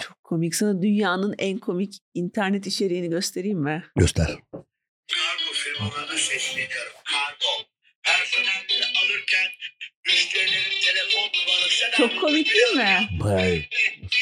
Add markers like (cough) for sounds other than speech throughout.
Çok komik. Sana dünyanın en komik internet içeriğini göstereyim mi? Göster. Kargo firmalarına sesleniyorum. Kargo. Personelleri alırken müşterilerin telefon numarası... Çok komik değil mi? Vay. Yemek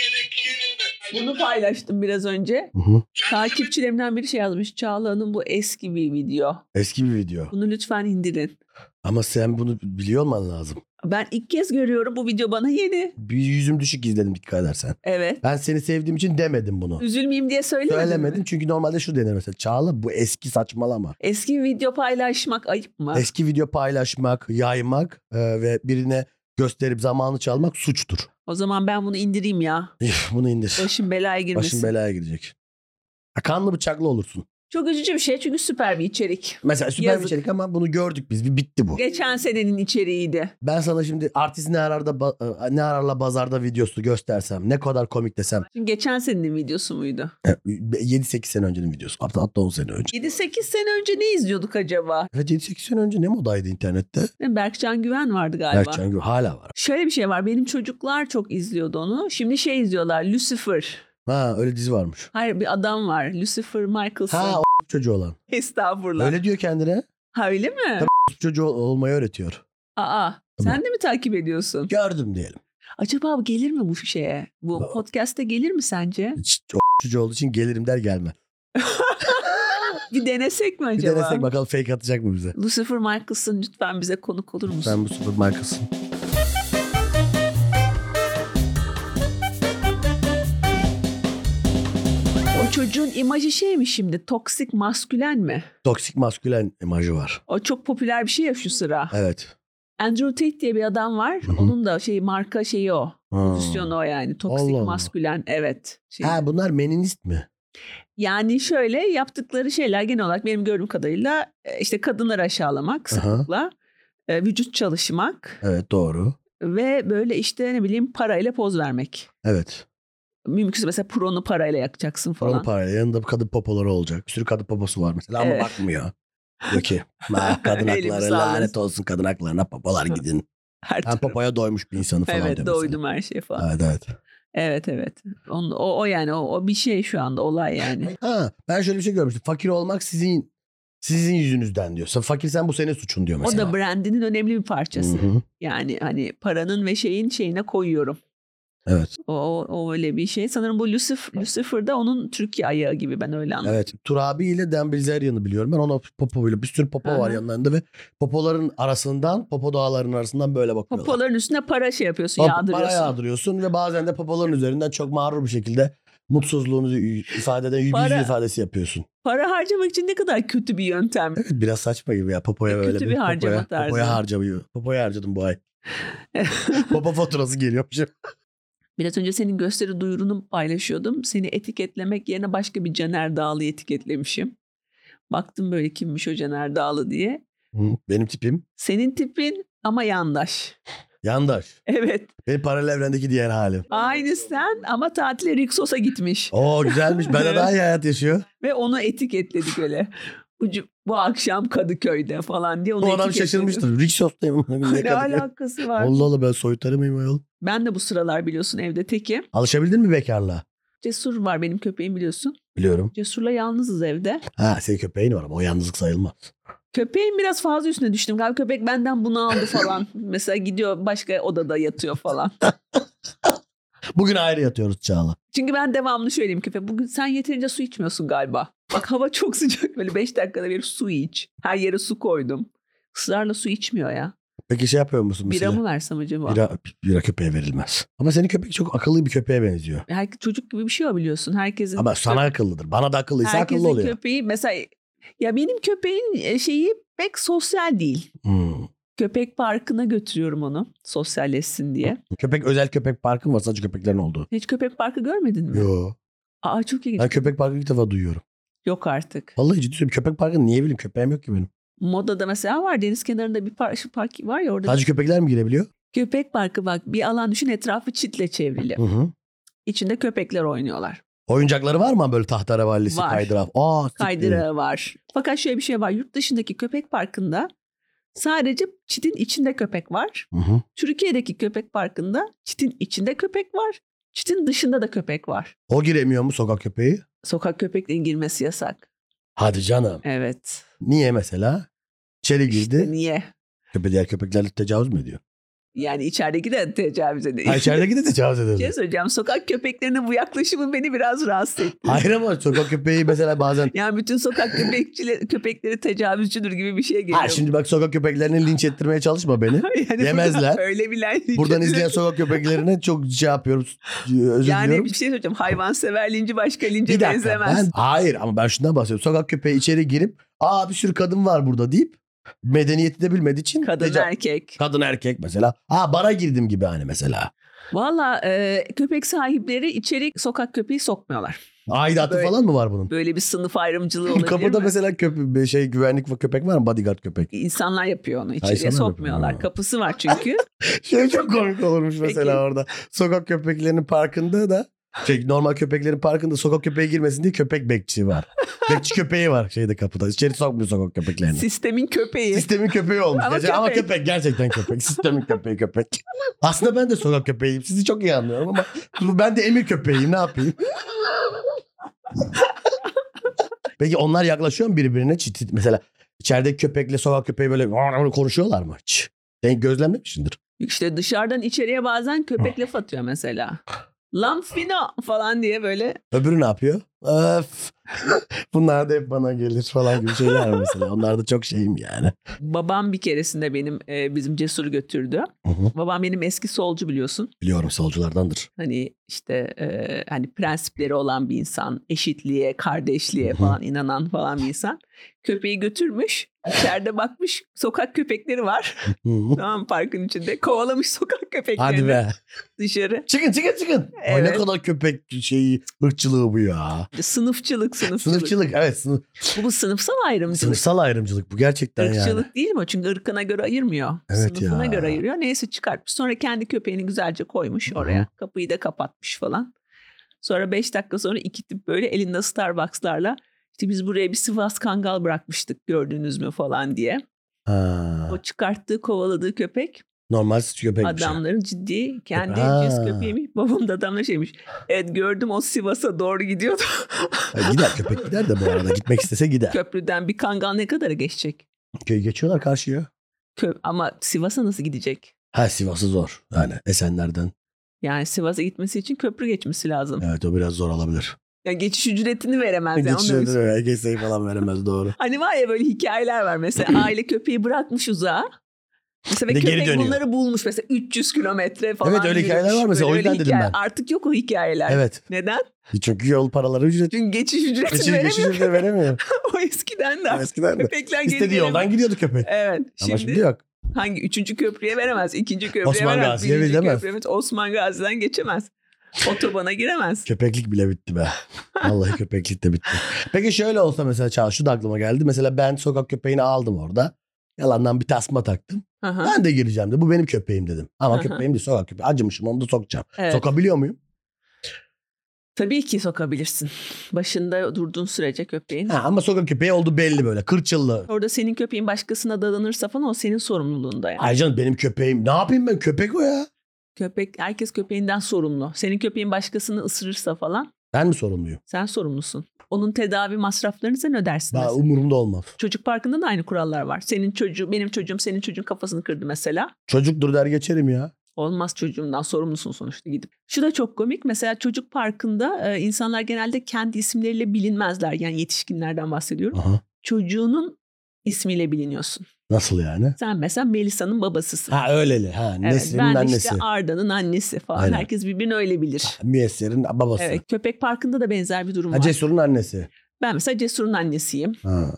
yiyelim mi? Bunu paylaştım biraz önce. Hı hı. Takipçilerimden biri şey yazmış. Çağla'nın bu eski bir video. Eski bir video. Bunu lütfen indirin. Ama sen bunu biliyor olman lazım. Ben ilk kez görüyorum. Bu video bana yeni. Bir yüzüm düşük izledim dikkat edersen. Evet. Ben seni sevdiğim için demedim bunu. Üzülmeyeyim diye söylemedim. Söylemedim mi? çünkü normalde şu denir mesela. Çağla bu eski saçmalama. Eski video paylaşmak ayıp mı? Eski video paylaşmak, yaymak e, ve birine gösterip zamanı çalmak suçtur. O zaman ben bunu indireyim ya. Üf, Bunu indir. Başım belaya girmesin. Başın belaya girecek. Ha, kanlı bıçaklı olursun. Çok üzücü bir şey çünkü süper bir içerik. Mesela süper Yazık. bir içerik ama bunu gördük biz. Bir bitti bu. Geçen senenin içeriğiydi. Ben sana şimdi artist ne ararda ba- e, ne ararla bazarda videosu göstersem ne kadar komik desem Şimdi geçen senenin videosu muydu? E, 7-8 sene öncenin videosu. Hatta, hatta 10 sene önce. 7-8 sene önce ne izliyorduk acaba? Evet 7-8 sene önce ne modaydı internette? Değil mi? Berkcan Güven vardı galiba. Berkcan Gül hala var. Şöyle bir şey var. Benim çocuklar çok izliyordu onu. Şimdi şey izliyorlar. Lucifer. Ha öyle dizi varmış. Hayır bir adam var. Lucifer Michaelson. (laughs) Ha o (laughs) çocuğu olan. Estağfurlah. Öyle diyor kendine. (laughs) Ha öyle mi? O çocuğu ol- olmayı öğretiyor. Aa. Sen de mi takip ediyorsun? Gördüm diyelim. Acaba bu gelir mi bu şeye? Bu podcast'te gelir mi sence? Hiç O (laughs) çocuğu olduğu için gelirim der gelme. Bir denesek mi Bir acaba? denesek bakalım fake atacak mı bize? Lucifer Michaelson lütfen bize konuk olur musun? Ben bu süper markasın. O çocuğun imajı şey mi şimdi? Toksik maskülen mi? Toksik maskülen imajı var. O çok popüler bir şey ya şu sıra. Evet. Andrew Tate diye bir adam var. Hı hı. Onun da şey marka şeyi o. Ha. Pozisyonu o yani. Toksik Allah Allah. maskülen. Evet. Şey- ha bunlar meninist mi? Yani şöyle yaptıkları şeyler genel olarak benim gördüğüm kadarıyla e, işte kadınları aşağılamak, Aha. sıklıkla e, vücut çalışmak Evet doğru. ve böyle işte ne bileyim parayla poz vermek. Evet. Mümkünse mesela pronu parayla yakacaksın falan. Falan parayla yanında kadın popoları olacak. Bir sürü kadın poposu var mesela ama Evet. bakmıyor. Diyor ki (laughs) "Ah, kadın Elimi hakları sallasın." lanet olsun kadın (laughs) haklarına popolar gidin. Her Ben tarafı. popoya doymuş bir insanı falan Evet diyor mesela. doydum her şeye falan. Evet evet. Evet evet. Onun- o, o yani o, o bir şey şu anda olay yani. Ha ben şöyle bir şey görmüştüm. Fakir olmak sizin sizin yüzünüzden diyor. Sen fakir sen bu senin suçun diyor o mesela. da brandinin önemli bir parçası. Hı hı. Yani hani paranın ve şeyin şeyine koyuyorum. Evet. O, o, o öyle bir şey. Sanırım bu Lucifer, Lucifer da onun Türkiye ayağı gibi ben öyle anladım. Evet. Turabi ile Dembélé biliyorum. Ben ona popo ile bir sürü popo Hı var hı. yanlarında ve popoların arasından, popo dağlarının arasından böyle bakıyorlar. Popoların üstüne para şey yapıyorsun, Pa- Para yağdırıyorsun. yağdırıyorsun ve bazen de popoların üzerinden çok mağrur bir şekilde mutsuzluğunu y- ifade eden bir Para- yüz ifadesi yapıyorsun. Para harcamak için ne kadar kötü bir yöntem. Evet biraz saçma gibi ya popoya E, böyle kötü bir harcama popoya, tarzı. Popoya harcamayı. Popoya harcadım (laughs) bu ay. Popo faturası geliyormuş. Biraz önce senin gösteri duyurunu paylaşıyordum. Seni etiketlemek yerine başka bir Caner Dağlı'yı etiketlemişim. Baktım böyle kimmiş o Caner Dağlı diye. Hı, Benim tipim Senin tipin ama yandaş. (laughs) yandaş. Evet. Benim paralel evrendeki diğer halim. Aynı sen ama tatile Rixos'a gitmiş. Oo güzelmiş. Ben Evet. daha iyi hayat yaşıyor. Ve onu etiketledik öyle. (laughs) Bu, cu- bu akşam Kadıköy'de falan diye onu Bu adam etiketledik. şaşırmıştır. Rikşos'tayım. (laughs) Ne Ne kadar- alakası var? Allah Allah ben soytarı mıyım ayol? Ben de bu sıralar biliyorsun evde tekim. Alışabildin mi bekarlığa? Cesur var benim köpeğim biliyorsun. Biliyorum. Cesur'la yalnızız evde. Ha senin köpeğin var ama o yalnızlık sayılmaz. Köpeğin biraz fazla üstüne düştüm. Galiba köpek benden bunu aldı (laughs) falan. Mesela gidiyor başka odada yatıyor falan. Bugün ayrı yatıyoruz Çağla. Çünkü ben devamlı söyleyeyim köpeğe. Bugün sen yeterince su içmiyorsun galiba. Bak hava çok sıcak. Böyle 5 dakikada bir su iç. Her yere su koydum. Israrla su içmiyor ya. Peki şey yapıyor musun Bira mesela? mı versem acaba? Bira, bira köpeğe verilmez. Ama senin köpek çok akıllı bir köpeğe benziyor. Herkes çocuk gibi bir şey o biliyorsun. Herkesin Ama sana akıllıdır. Bana da akıllıysa herkesin akıllı oluyor. köpeği mesela ya benim köpeğin e, şeyi pek sosyal değil. Hmm. Köpek parkına götürüyorum onu sosyalleşsin diye. Köpek özel köpek parkı mı var? Sadece köpeklerin olduğu. Hiç köpek parkı görmedin mi? Yo. Aa çok ilginç. Ben köpek parkı ilk defa duyuyorum. Yok artık. Vallahi ciddi söylüyorum. Köpek parkı niye bileyim? Köpeğim yok ki benim. Moda'da mesela var deniz kenarında bir par- şu park var ya orada. Sadece köpekler mi girebiliyor? Köpek parkı bak bir alan düşün etrafı çitle çevrili. Hı hı. İçinde köpekler oynuyorlar. Oyuncakları var mı böyle tahtarevallisi, Var. kaydıra? Aa, siktir. Kaydırağı var. Fakat şöyle bir şey var. Yurt dışındaki köpek parkında sadece çitin içinde köpek var. Hı hı. Türkiye'deki köpek parkında çitin içinde köpek var. Çitin dışında da köpek var. O giremiyor mu sokak köpeği? Sokak köpeklerin girmesi yasak. Hadi canım. Evet. Niye mesela? İçeri girdi. İşte niye? Köpe diğer köpeklerle tecavüz mü ediyor? Yani içerideki de tecavüz ediyor. (laughs) Ha içerideki de tecavüz Bir şey ediyor. söyleyeceğim. Sokak köpeklerinin bu yaklaşımı beni biraz rahatsız etti. Hayır ama sokak köpeği mesela bazen... Yani bütün sokak köpekçileri, köpekleri tecavüzcüdür gibi bir şey geliyor. Ha şimdi bak sokak köpeklerini linç ettirmeye çalışma beni. (laughs) yani yemezler. Öyle bilen. (laughs) Buradan izleyen sokak köpeklerine çok şey yapıyorum. Özür Yani diliyorum. bir şey söyleyeceğim. Hayvansever linci başka lince Bir dakika. benzemez. Ben, hayır ama ben şundan bahsediyorum. Sokak köpeği içeri girip aa bir sürü kadın var burada deyip medeniyeti de bilmediği için Kadın er- teca- erkek. kadın erkek mesela. Aa bara girdim gibi hani mesela. Valla e, köpek sahipleri içeri sokak köpeği sokmuyorlar. Aidatı Böyle- falan mı var bunun? Böyle bir sınıf ayrımcılığı olabilir (laughs) Kapıda mi? mesela köpe- şey güvenlik köpek var mı? Bodyguard köpek. İnsanlar yapıyor onu. Ha, İçeriye insanlar yapıyor. sokmuyorlar. Ha. Kapısı var (laughs) çünkü. Şey çok komik olurmuş Peki. mesela orada. Sokak köpeklerinin parkında da şey normal köpeklerin parkında sokak köpeği girmesin diye köpek bekçi var. bekçi köpeği var şeyde kapıda. İçeri sokmuyor sokak köpeklerini. Sistemin köpeği. Sistemin köpeği olmuş. Ama Ama, köpek. ama köpek. köpek gerçekten köpek. Sistemin köpeği köpek. Aslında ben de sokak köpeğiyim. Sizi çok iyi anlıyorum ama ben de emir köpeğiyim. Ne yapayım? Peki onlar yaklaşıyor mu birbirine? Çit, mesela içerideki köpekle sokak köpeği böyle konuşuyorlar mı? Hiç. Sen gözlemlemişsindir. İşte dışarıdan içeriye bazen köpek laf atıyor mesela. Lan fina falan diye böyle Öbürü ne yapıyor? Öf. (laughs) Bunlar da hep bana gelir falan gibi şeyler var mesela. Onlar da çok şeyim yani. babam bir keresinde benim e, bizim cesur götürdü. Hı hı. Babam benim eski solcu biliyorsun. Biliyorum solculardandır. Hani işte e, hani prensipleri olan bir insan, eşitliğe, kardeşliğe Hı. falan inanan falan bir insan. Köpeği götürmüş, içeride bakmış sokak köpekleri var. Hı hı. tamam mı? parkın içinde. Kovalamış sokak Hadi köpeklerini be. dışarı. Çıkın çıkın çıkın. Ay ne Evet. kadar köpek şeyi ırkçılığı bu ya. Sınıfçılık, sınıfçılık. Sınıfçılık evet sınıf, Bu, bu sınıfsal ayrımcılık. sınıfsal ayrımcılık bu gerçekten yani. Irkçılık değil mi? o? Çünkü ırkına göre ayırmıyor. Evet Sınıfına ya. göre ayırıyor. Neyse çıkartmış. Sonra kendi köpeğini güzelce koymuş oraya. Hı. Kapıyı da kapatmış falan. Sonra beş dakika sonra iki tip böyle elinde Starbucks'larla işte biz buraya bir Sivas Kangal bırakmıştık gördünüz mü falan diye. Ha, O çıkarttığı kovaladığı köpek normal süt köpek Ah. bir şey. Ah. adamların ciddi kendi Ha. cins köpeğiymiş. Babam da adamla şeymiş. Evet gördüm o Sivas'a doğru gidiyordu. Ay, gider köpek gider de bu arada gitmek istese gider. Köprüden bir kangal ne kadara geçecek? Köy geçiyorlar karşıya. Kö- Ama Sivas'a nasıl gidecek? Ha Sivas'ı zor. Yani Esenler'den. Yani Sivas'a gitmesi için köprü geçmesi lazım. Evet o biraz zor olabilir. Yani geçiş ücretini veremez. Yani. Onu Geçiş demek istiyorum. ödülü geçseyi falan veremez doğru. Hani var ya böyle hikayeler var (clears throat) mesela aile köpeği bırakmış uzağa. Mesela ve Bir de geri köpek dönüyor. bunları bulmuş mesela 300 kilometre falan. Evet, öyle hikayeler yürümüş. var mesela, o Böyle öyle yüzden dedim hikaye- ben. Artık yok o hikayeler. Evet. Neden? Çünkü yol paraları ücret. Çünkü geçiş ücreti Geçiş, geçiş veremiyor. (laughs) ücreti veremiyor. o eskiden de artık Eskiden de. köpekler geri İstediği dönüyor. yoldan gidiyordu köpek. Evet. Ama Şimdi, şimdi yok. hangi? Üçüncü köprüye veremez. ikinci köprüye Osman veremez. Gazi'ye birinci gidemez. köprüye veremez, Osman Gazi'den geçemez. Otobana giremez. Köpeklik bile bitti be. (laughs) Vallahi köpeklik de bitti. Peki şöyle olsa mesela Çağ, şu da aklıma geldi. Mesela ben sokak köpeğini aldım orada. Yalandan bir tasma taktım. Hı hı. Ben de gireceğim de bu benim köpeğim dedim. Ama Aha. köpeğim değil sokak köpeği. Acımışım onu da sokacağım. Evet. Sokabiliyor muyum? Tabii ki sokabilirsin. Başında durduğun sürece köpeğin. Ha, ama sokak köpeği oldu belli böyle kırçıllı. Orada senin köpeğin başkasına dadanırsa falan o senin sorumluluğunda yani. Ay canım benim köpeğim. Ne yapayım ben köpek o ya. Köpek herkes köpeğinden sorumlu. Senin köpeğin başkasını ısırırsa falan Ben mi sorumluyum? sen sorumlusun. Onun tedavi masraflarını sen ödersin. Ben mesela. umurumda olmaz. Çocuk parkında da aynı kurallar var. Senin çocuğu, benim çocuğum senin çocuğun kafasını kırdı mesela. Çocuktur der geçerim ya. Olmaz çocuğumdan sorumlusun sonuçta gidip. Şu da çok komik. Mesela çocuk parkında e, insanlar genelde kendi isimleriyle bilinmezler. Yani yetişkinlerden bahsediyorum. Aha. Çocuğunun ismiyle biliniyorsun. Nasıl yani? Sen mesela Melisa'nın babasısın. Ha öyleli. Ha Evet, Nesrin'in ben annesi. işte Arda'nın annesi falan. Aynen. Herkes birbirini öyle bilir. Müyesser'in babası. Evet, köpek parkında da benzer bir durum Ha var. Cesur'un annesi. Ben mesela Cesur'un annesiyim. Ha.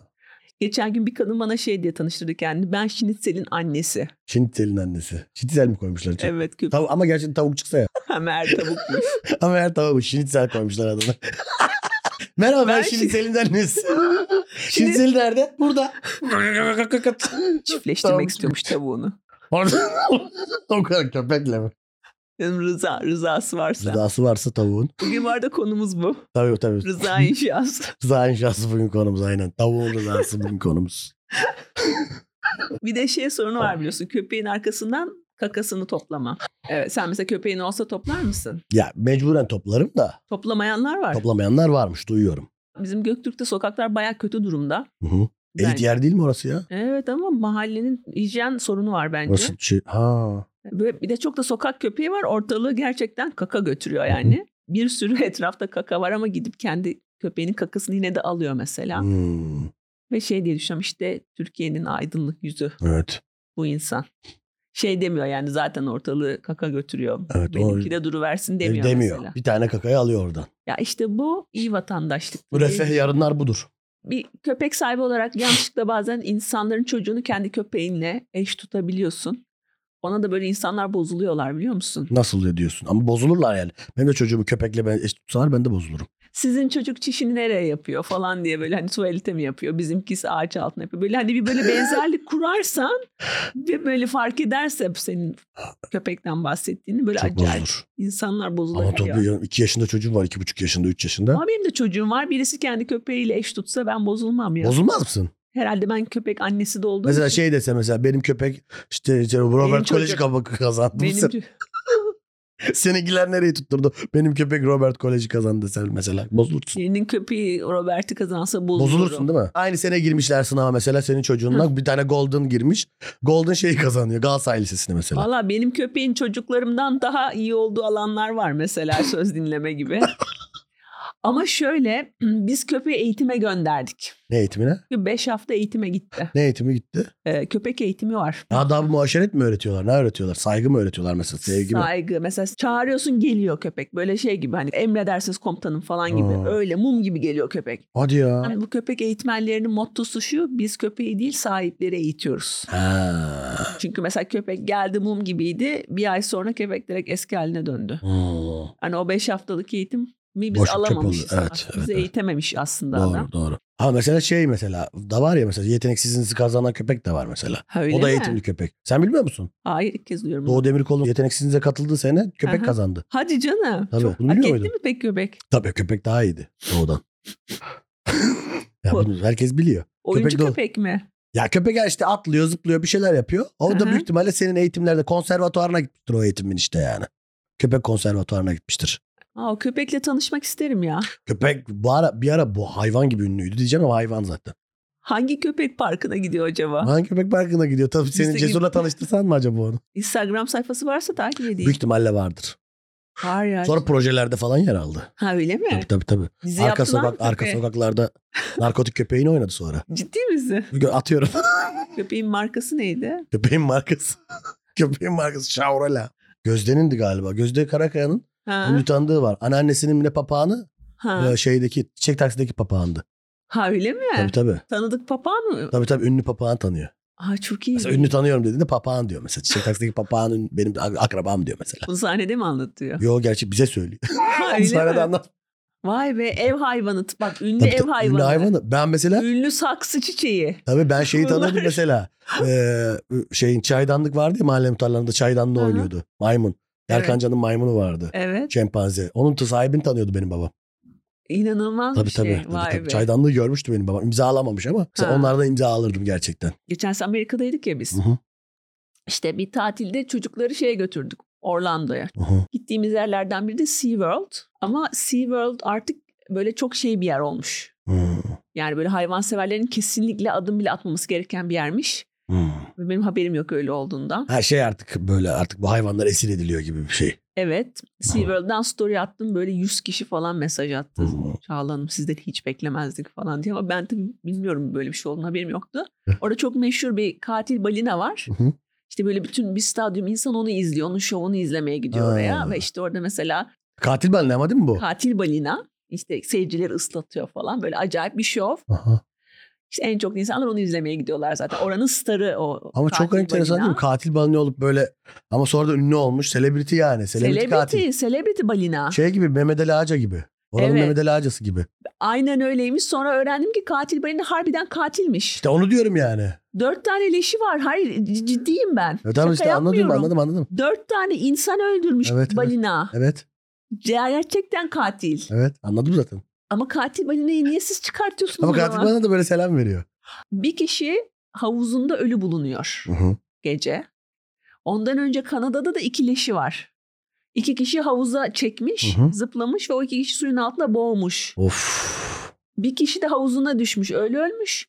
Geçen gün bir kadın bana şey diye tanıştırdı kendini. Ben Şinitsel'in annesi. Şinitel'in annesi. Şinitel mi koymuşlar? içine? Evet, köpek (laughs) Tav- ama gerçekten tavuk çıksa ya. (laughs) Mer tavukmuş. Ama her tavuğu şinitsel koymuşlar adına. (laughs) Merhaba ben, Ben (laughs) şinitselin annesi. Şinitsel nerede? Burada. Tamam. Çiftleştirmek istiyormuş tavuğunu. Orada. (laughs) o kadar köpekle mi? Dedim Rıza, rızası varsa. Rızası varsa tavuğun. Bugün var da konumuz bu. Tabii tabii. Rıza inşası. (laughs) Rıza inşası bugün konumuz aynen. Tavuğun rızası bugün konumuz. bir de şey sorunu var biliyorsun. Köpeğin arkasından Kakasını toplama. Evet, sen mesela köpeğin olsa toplar mısın? Ya mecburen toplarım da Toplamayanlar var. toplamayanlar varmış duyuyorum. Bizim Göktürk'te sokaklar bayağı kötü durumda. Hı hı. Elit Bence- yer değil mi orası ya? Evet ama mahallenin hijyen sorunu var bence. Orası şey, ha. Böyle bir de çok da sokak köpeği var. Ortalığı gerçekten kaka götürüyor yani. Bir sürü (laughs) etrafta kaka var ama gidip kendi köpeğinin kakasını yine de alıyor mesela. Hmm, Ve şey diye düşünüyorum işte Türkiye'nin aydınlık yüzü evet. bu insan. Şey demiyor yani zaten ortalığı kaka götürüyor. Evet, o- Benimki de duruversin demiyor, Demiyor. mesela. Bir tane kakayı alıyor oradan. Ya işte bu iyi vatandaşlık. Müreffeh Bir- yarınlar budur. Bir köpek sahibi olarak yanlışlıkla bazen insanların çocuğunu kendi köpeğinle eş tutabiliyorsun. Ona da böyle insanlar bozuluyorlar biliyor musun? Nasıl ya diyorsun? Ama bozulurlar yani. Benim de çocuğumu köpekle ben eş tutsalar ben de bozulurum. sizin çocuk çişini nereye yapıyor falan diye böyle hani tuvalete mi yapıyor bizimkisi ağaç altına yapıyor. Böyle hani bir böyle benzerlik kurarsan ve böyle fark ederse senin köpekten bahsettiğini böyle Çok acayip bozulur. insanlar Ama bozulabiliyor. tabii 2 yaşında çocuğum var. 2,5 yaşında, 3 yaşında. Ama benim de çocuğum var. Birisi kendi köpeğiyle eş tutsa ben bozulmam ya. Bozulmaz mısın? Herhalde ben köpek annesi de olduğum Mesela için. şey dese mesela benim köpek işte işte Robert Kolej çocuk- kabakı kazandı. Bu benim sefer- ço- (laughs) Seninkiler nereye tutturdu? Benim köpek Robert Kolej'i kazandı sen mesela. Bozulursun. birinin köpeği Robert'i kazansa bozulurum. Bozulursun değil mi? Aynı sene girmişler sınava mesela senin çocuğunla. bir tane Golden girmiş. Golden şeyi kazanıyor. Galatasaray Lisesi'ni mesela. Valla benim köpeğin çocuklarımdan daha iyi olduğu alanlar var mesela (laughs) söz dinleme gibi. Ama şöyle (clears throat) biz köpeği eğitime gönderdik. Ne eğitimine? 5 hafta eğitime gitti. Ne eğitimi gitti? Ee, köpek eğitimi var. Adab-ı muaşeret mi öğretiyorlar? Ne öğretiyorlar? Saygı mı öğretiyorlar mesela? Sevgi mi? Saygı. Mesela çağırıyorsun geliyor köpek. Böyle şey gibi hani emredersiniz komutanım falan gibi. Aa. Öyle mum gibi geliyor köpek. Hadi ya. Yani Hani bu köpek eğitmenlerinin mottosu şu biz köpeği değil sahipleri eğitiyoruz. Ha. Çünkü mesela köpek geldi mum gibiydi. Bir ay sonra köpek direkt eski haline döndü. Hmm. Hani o 5 haftalık eğitim mi biz Boş çöp alamamışız. oldu. Evet, artık. evet, Bizi evet. eğitememiş aslında adam. Doğru doğru. Ha mesela şey mesela da var ya mesela yeteneksizliğinizi kazanan köpek de var mesela. Ha, öyle o da mi? eğitimli köpek. Sen bilmiyor musun? Hayır ilk kez duyuyorum. Doğu Demirkol'un yeteneksizliğinize katıldığı sene köpek Aha. kazandı. Hadi canım. Tabii, Çok bunu hak biliyor etti muydun? mi pek köpek? Tabii köpek daha iyiydi doğudan. (laughs) ya Bu- bunu herkes biliyor. Oyuncu doğu- köpek, mi? Ya köpek her işte atlıyor, zıplıyor, bir şeyler yapıyor. O da Aha. büyük ihtimalle senin eğitimlerde konservatuarına gitmiştir o eğitimin işte yani. Köpek konservatuarına gitmiştir. Aa, o köpekle tanışmak isterim ya. Köpek bu ara, bir ara bu hayvan gibi ünlüydü diyeceğim ama hayvan zaten. Hangi köpek parkına gidiyor acaba? Hangi köpek parkına gidiyor? Tabii senin Bizdeki- Cesur'la tanıştırsan mı acaba onu? Instagram sayfası varsa takip edeyim. Büyük ihtimalle vardır. Var ya. Sonra projelerde falan yer aldı. Ha öyle mi? Tabii tabii tabii. Dizi arka yaptılar mı sokak arka köpeğe? sokaklarda narkotik köpeğini oynadı sonra. Ciddi misin? Gö- Atıyorum. (laughs) Köpeğin markası neydi? Köpeğin markası. (laughs) Köpeğin markası Şavrala. Gözde'nindi galiba. Gözde Karakaya'nın Ha. ünlü tanıdığı var. Anneannesinin mi ne papağanı Ha. e, şeydeki çiçek taksideki papağandı. ha öyle mi? Tabii tabii. Tanıdık papağan mı? Tabii tabii ünlü papağan tanıyor. Aa çok iyi. Mesela ünlü tanıyorum dediğinde papağan diyor mesela. Çiçek taksideki papağan ün- benim ak- akrabam diyor mesela. Bunu sahnede mi anlatıyor? Yo gerçi bize söylüyor. Ha, öyle mi? Sahnede anlat. Vay be ev hayvanı. Bak ünlü Tabii ev tabii, hayvanı. Ünlü hayvanı. Ben mesela Ünlü saksı çiçeği. Tabii ben şeyi Bunlar- tanırdım mesela. Ee, şeyin çaydanlık vardı ya mahalle muhtarlarında çaydanlığı Aha. oynuyordu. Maymun. Evet. Erkan Can'ın maymunu vardı. Evet. Şempanze. Onun t- sahibini tanıyordu benim babam. İnanılmaz Tabii bir şey. tabii. tabii, Vay tabii. be. Çaydanlığı görmüştü benim babam. İmzalamamış ama mesela Ha. onlardan imza alırdım gerçekten. Geçen sene Amerika'daydık ya biz. Hı hı, İşte bir tatilde çocukları şeye götürdük. Orlando'ya. hı hı. Gittiğimiz yerlerden biri de SeaWorld. Ama SeaWorld artık böyle çok şey bir yer olmuş. Hı, Yani böyle hayvanseverlerin kesinlikle adım bile atmaması gereken bir yermiş. hı. Ve Benim haberim yok öyle olduğundan. Her şey artık böyle artık bu hayvanlar esir ediliyor gibi bir şey. Evet. SeaWorld'dan story attım. Böyle 100 kişi falan mesaj Hı attı. hı. Çağla Hanım sizden hiç beklemezdik falan diye ama ben tabii bilmiyorum böyle bir şey olduğunu haberim yoktu. Orada çok meşhur bir katil balina var. Hı hı. İşte böyle bütün bir stadyum insan onu izliyor. Onun şovunu izlemeye gidiyor Ha. oraya ve işte orada mesela Katil ben ama değil mi bu? katil balina işte seyircileri ıslatıyor falan böyle acayip bir şov. Aha. İşte en çok insanlar onu izlemeye gidiyorlar zaten. Oranın starı o. Ama çok katil enteresan balina. değil mi? Katil balını olup böyle ama sonra da ünlü olmuş. Selebriti yani. Selebriti katil. Celebrity, celebrity balina. Şey gibi Mehmet Ali Ağaca gibi. Oranın Evet. Mehmet Ali Ağacası gibi. Aynen öyleymiş. Sonra öğrendim ki katil balina harbiden katilmiş. İşte onu diyorum yani. Dört tane leşi var. Hayır c- ciddiyim ben. Evet tamam Şaka işte anladım yapmıyorum. anladım anladım. Dört tane insan öldürmüş Evet, evet. balina. Evet Gerçekten katil. evet anladım zaten. Ama katil balinayı niye siz çıkartıyorsunuz Ama o katil zaman? bana da böyle selam veriyor. Bir kişi havuzunda ölü bulunuyor gece. Ondan önce Kanada'da da iki leşi var. İki kişi havuza çekmiş, Hı hı. zıplamış ve o iki kişi suyun altında boğmuş. Of. Bir kişi de havuzuna düşmüş, öyle ölmüş.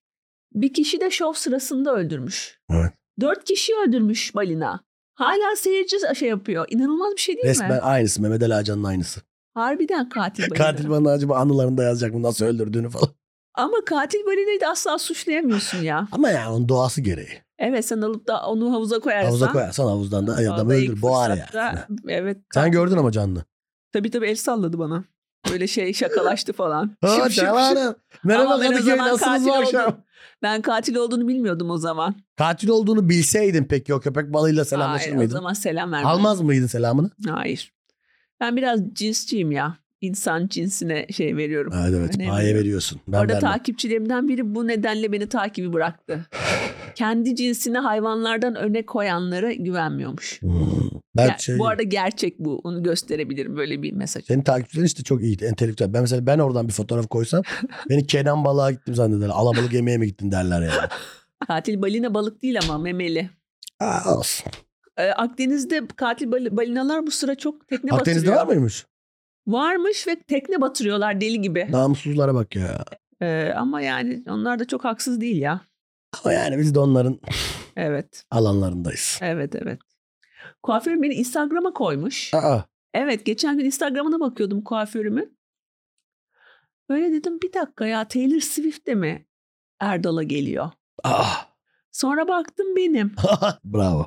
Bir kişi de şov sırasında öldürmüş. Evet. Dört kişi öldürmüş balina. Hala seyirci şey yapıyor. İnanılmaz bir şey değil Resmen mi? aynısı. Mehmet Ali Ağcan'ın aynısı. Harbiden katil balina. Katil bana acaba anılarında yazacak mı nasıl öldürdüğünü falan. Ama katil balinayı da asla suçlayamıyorsun ya. Ama yani onun doğası gereği. Evet sen alıp da onu havuza koyarsan. Havuza koyarsan havuzdan da Vallahi adamı ilk öldür. Boğar ya. fırsatta- Evet. Sen gördün ama canlı. Tabii tabii el salladı bana. Böyle şey şakalaştı falan. Ha, Şıp şıp şıp. Canan. Merhaba Ama ben o Kadıköy zaman nasılsınız bu katil akşam? Ben katil olduğunu bilmiyordum o zaman. Katil olduğunu bilseydin peki o köpek balığıyla selamlaşır Hayır, o mıydın? zaman selam vermem. Almaz mıydın selamını? Hayır. Ben biraz cinsçiyim ya. İnsan cinsine şey veriyorum. Evet evet. Ben Paye vermem. veriyorsun. Ben Orada vermem. takipçilerimden biri bu nedenle beni takibi (sighs) bıraktı. Kendi cinsini hayvanlardan öne koyanlara güvenmiyormuş. Hmm. Ben Ya, şey, bu arada gerçek bu. Onu gösterebilirim böyle bir mesaj. senin takipçilerin işte çok iyi. Entelektüel. Ben mesela ben oradan bir (laughs) fotoğraf koysam beni Kenan balığa gittim zannederler. Alabalık yemeğe mi gittin (laughs) derler yani. Katil balina balık değil ama memeli. Aa, olsun. Ee, Akdeniz'de katil bal- balinalar bu sıra çok tekne Akdeniz'de batırıyor. var mıymış? Varmış ve tekne batırıyorlar deli gibi. Namussuzlara bak ya. Ee, ama yani onlar da çok haksız değil ya. Ama yani biz de onların Evet, alanlarındayız. evet, evet. Kuaförüm beni Instagram'a koymuş. Aa, Evet, geçen gün Instagram'ına bakıyordum kuaförümün. Böyle dedim bir dakika ya Taylor Swift de mi Erdal'a geliyor? aa. Sonra baktım benim. (laughs) Bravo.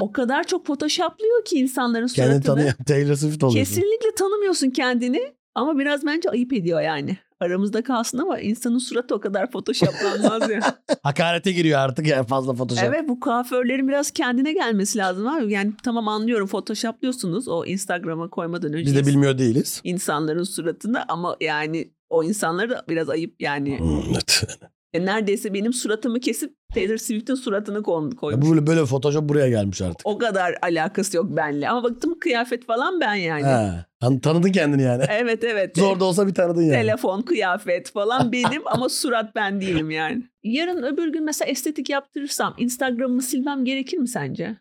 O kadar çok photoshoplıyor ki insanların Kendini suratını. tanıyan Taylor Swift oluyorsun. (laughs) Kesinlikle tanımıyorsun kendini ama biraz bence ayıp ediyor yani. Aramızda kalsın ama insanın suratı o kadar photoshoplanmaz (laughs) ya. Hakarete giriyor artık yani fazla photoshop. evet bu kuaförlerin biraz kendine gelmesi lazım abi. Yani tamam anlıyorum photoshoplıyorsunuz o Instagram'a koymadan önce Biz de bilmiyor değiliz. insanların suratını ama yani o insanlara da biraz ayıp yani. Hmm, Evet. E, Neredeyse benim suratımı kesip Taylor Swift'in suratını kon- Ya koymuş. bu Böyle, böyle photoshop buraya gelmiş artık. O kadar alakası yok benle. Ama baktım kıyafet falan ben yani. Ha, an- tanıdın kendini yani. Evet evet. (laughs) E, Zor da olsa bir tanıdın yani. Telefon, kıyafet (laughs) falan benim ama surat ben değilim yani. Yarın öbür gün mesela estetik yaptırırsam Instagram'ımı silmem gerekir mi sence?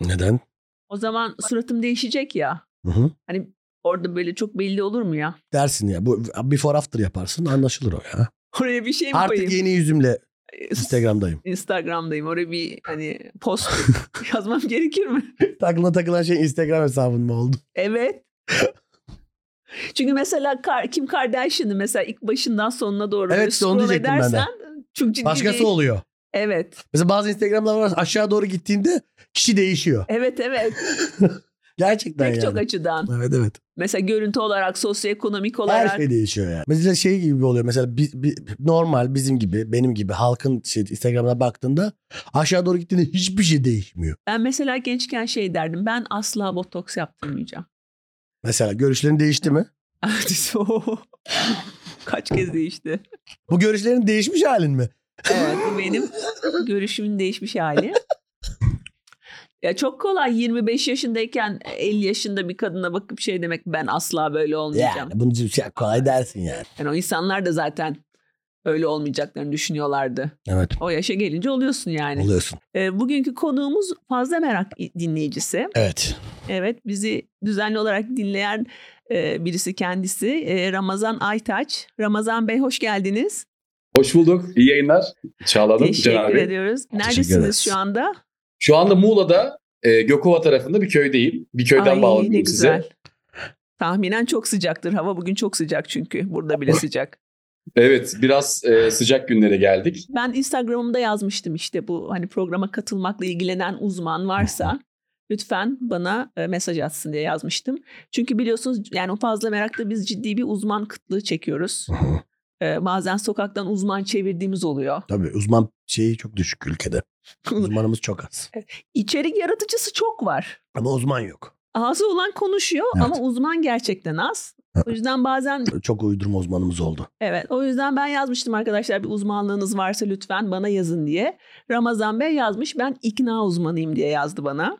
Neden? O zaman suratım değişecek ya. Hani Hı hı. Orada böyle çok belli olur mu ya? (laughs) Dersin ya. Bu before after yaparsın anlaşılır o ya. Oraya bir şey mi Artık koyayım? E, yeni (laughs) yüzümle Instagram. Instagram'dayım. Instagram'dayım. Oraya (laughs) bir hani post (laughs) yazmam gerekir mi? Aklına takılan şey Instagram hesabın mı oldu? Evet. Çünkü mesela Kar- Kim Kardashian'ı mesela ilk başından sonuna doğru Evet, böyle işte onu scroll diyecektim ben de. edersen çok ciddi Başkası bir... oluyor. Evet. Mesela bazı Instagram'lar var aşağı doğru gittiğinde kişi değişiyor. Evet evet. (laughs) Gerçekten Pek çok yani. açıdan. evet evet. Mesela görüntü olarak, sosyoekonomik Her olarak. şey değişiyor yani. Mesela şey gibi oluyor. Mesela bi- bi- normal bizim gibi, benim gibi halkın şey, Instagram'ına baktığında aşağı doğru gittiğinde hiçbir şey değişmiyor. Ben mesela gençken şey derdim. Ben asla botoks yaptırmayacağım. (laughs) Mesela görüşlerin değişti mi? (laughs) Kaç kez değişti. Bu görüşlerin değişmiş halin mi? Evet bu benim görüşümün değişmiş hali. Ya çok kolay 25 yaşındayken 50 yaşında bir kadına bakıp şey demek ben asla böyle olmayacağım. Yani bunu şey, kolay dersin yani. Yani o insanlar da zaten öyle olmayacaklarını düşünüyorlardı. Evet. O yaşa gelince oluyorsun yani. Oluyorsun. Ee, bugünkü konuğumuz fazla merak dinleyicisi. Evet. Evet bizi düzenli olarak dinleyen e, birisi kendisi E, Ramazan Aytaç. Ramazan Bey hoş geldiniz. Hoş bulduk. İyi yayınlar. Çağla Hanım, Teşekkür Canan Bey. ediyoruz. ederiz. Neredesiniz şu anda? Şu anda Muğla'da e, Gökova tarafında bir köydeyim. Bir köyden Ay, bağlanıyorum ne size. güzel. Tahminen çok sıcaktır. Hava bugün çok sıcak çünkü. Burada bile sıcak. Evet biraz e, sıcak günlere geldik. Ben Instagram'ımda yazmıştım işte bu hani programa katılmakla ilgilenen uzman varsa lütfen bana e, mesaj atsın diye yazmıştım. Çünkü biliyorsunuz yani o fazla merakta biz ciddi bir uzman kıtlığı çekiyoruz. Hı hı. E, bazen sokaktan uzman çevirdiğimiz oluyor. Tabii uzman şeyi çok (laughs) düşük ülkede. Uzmanımız çok az. İçerik yaratıcısı çok var. Ama uzman yok. Ağzı olan konuşuyor Evet. ama uzman gerçekten az. Evet. O yüzden bazen Çok uydurma uzmanımız oldu. evet o yüzden ben yazmıştım arkadaşlar bir uzmanlığınız varsa lütfen bana yazın diye. Ramazan Bey yazmış ben ikna uzmanıyım diye yazdı bana.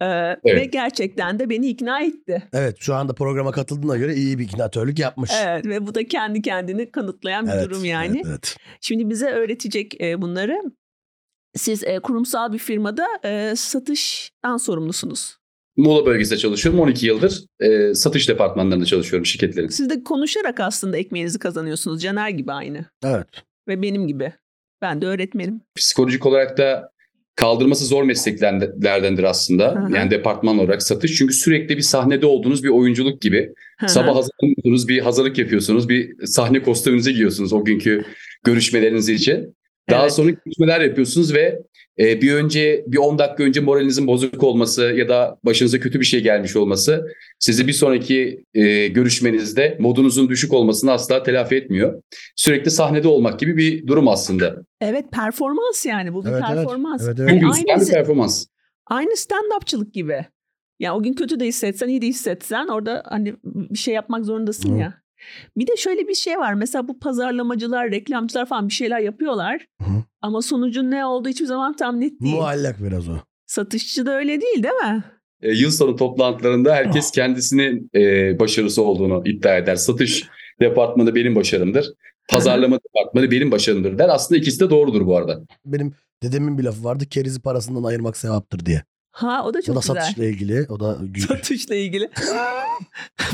Ee, Ve Evet. gerçekten de beni ikna etti. Evet şu anda programa katıldığına göre iyi bir iknatörlük yapmış. Evet ve bu da kendi kendini kanıtlayan bir Evet, durum yani. Evet, evet. Şimdi bize öğretecek e, bunları Siz e, kurumsal bir firmada e, satıştan sorumlusunuz. Muğla bölgesinde çalışıyorum 12 yıldır. E, satış departmanlarında çalışıyorum şirketlerin. Siz de konuşarak aslında ekmeğinizi kazanıyorsunuz. Caner gibi aynı Evet. ve benim gibi. Ben de öğretmenim. Psikolojik olarak da kaldırması zor mesleklerdendir aslında. Hı hı. Yani departman olarak satış. Çünkü sürekli bir sahnede olduğunuz bir oyunculuk gibi. Hı hı. Sabah hazırlanıyorsunuz, bir hazırlık yapıyorsunuz, bir sahne kostümünüzü giyiyorsunuz o günkü görüşmeleriniz için. Daha Evet. sonra görüşmeler yapıyorsunuz ve e, bir önce bir 10 dakika önce moralinizin bozuk olması ya da başınıza kötü bir şey gelmiş olması sizi bir sonraki e, görüşmenizde modunuzun düşük olmasını asla telafi etmiyor. Sürekli sahnede olmak gibi bir durum aslında. Evet performans yani bu bir Evet, evet. performans. Evet, Çünkü evet. Yani yükselen bir aynısı- performans. Aynı stand-upçılık gibi. Yani o gün kötü de hissetsen iyi de hissetsen orada hani bir şey yapmak zorundasın Hı. ya. Bir de şöyle bir şey var. Mesela bu pazarlamacılar, reklamcılar falan bir şeyler yapıyorlar. Hı. Ama sonucun ne olduğu hiçbir zaman tam net değil. Muallak biraz o. Satışçı da öyle değil değil mi? E, yıl sonu toplantılarında herkes kendisinin e, başarısı olduğunu iddia eder. Satış departmanı benim başarımdır. Pazarlama departmanı benim başarımdır der. Aslında ikisi de doğrudur bu arada. Benim dedemin bir lafı vardı. Kerizi parasından ayırmak sevaptır diye. Ha o da çok o da güzel. satışla ilgili. (laughs) O da gü- Satışla ilgili. (laughs)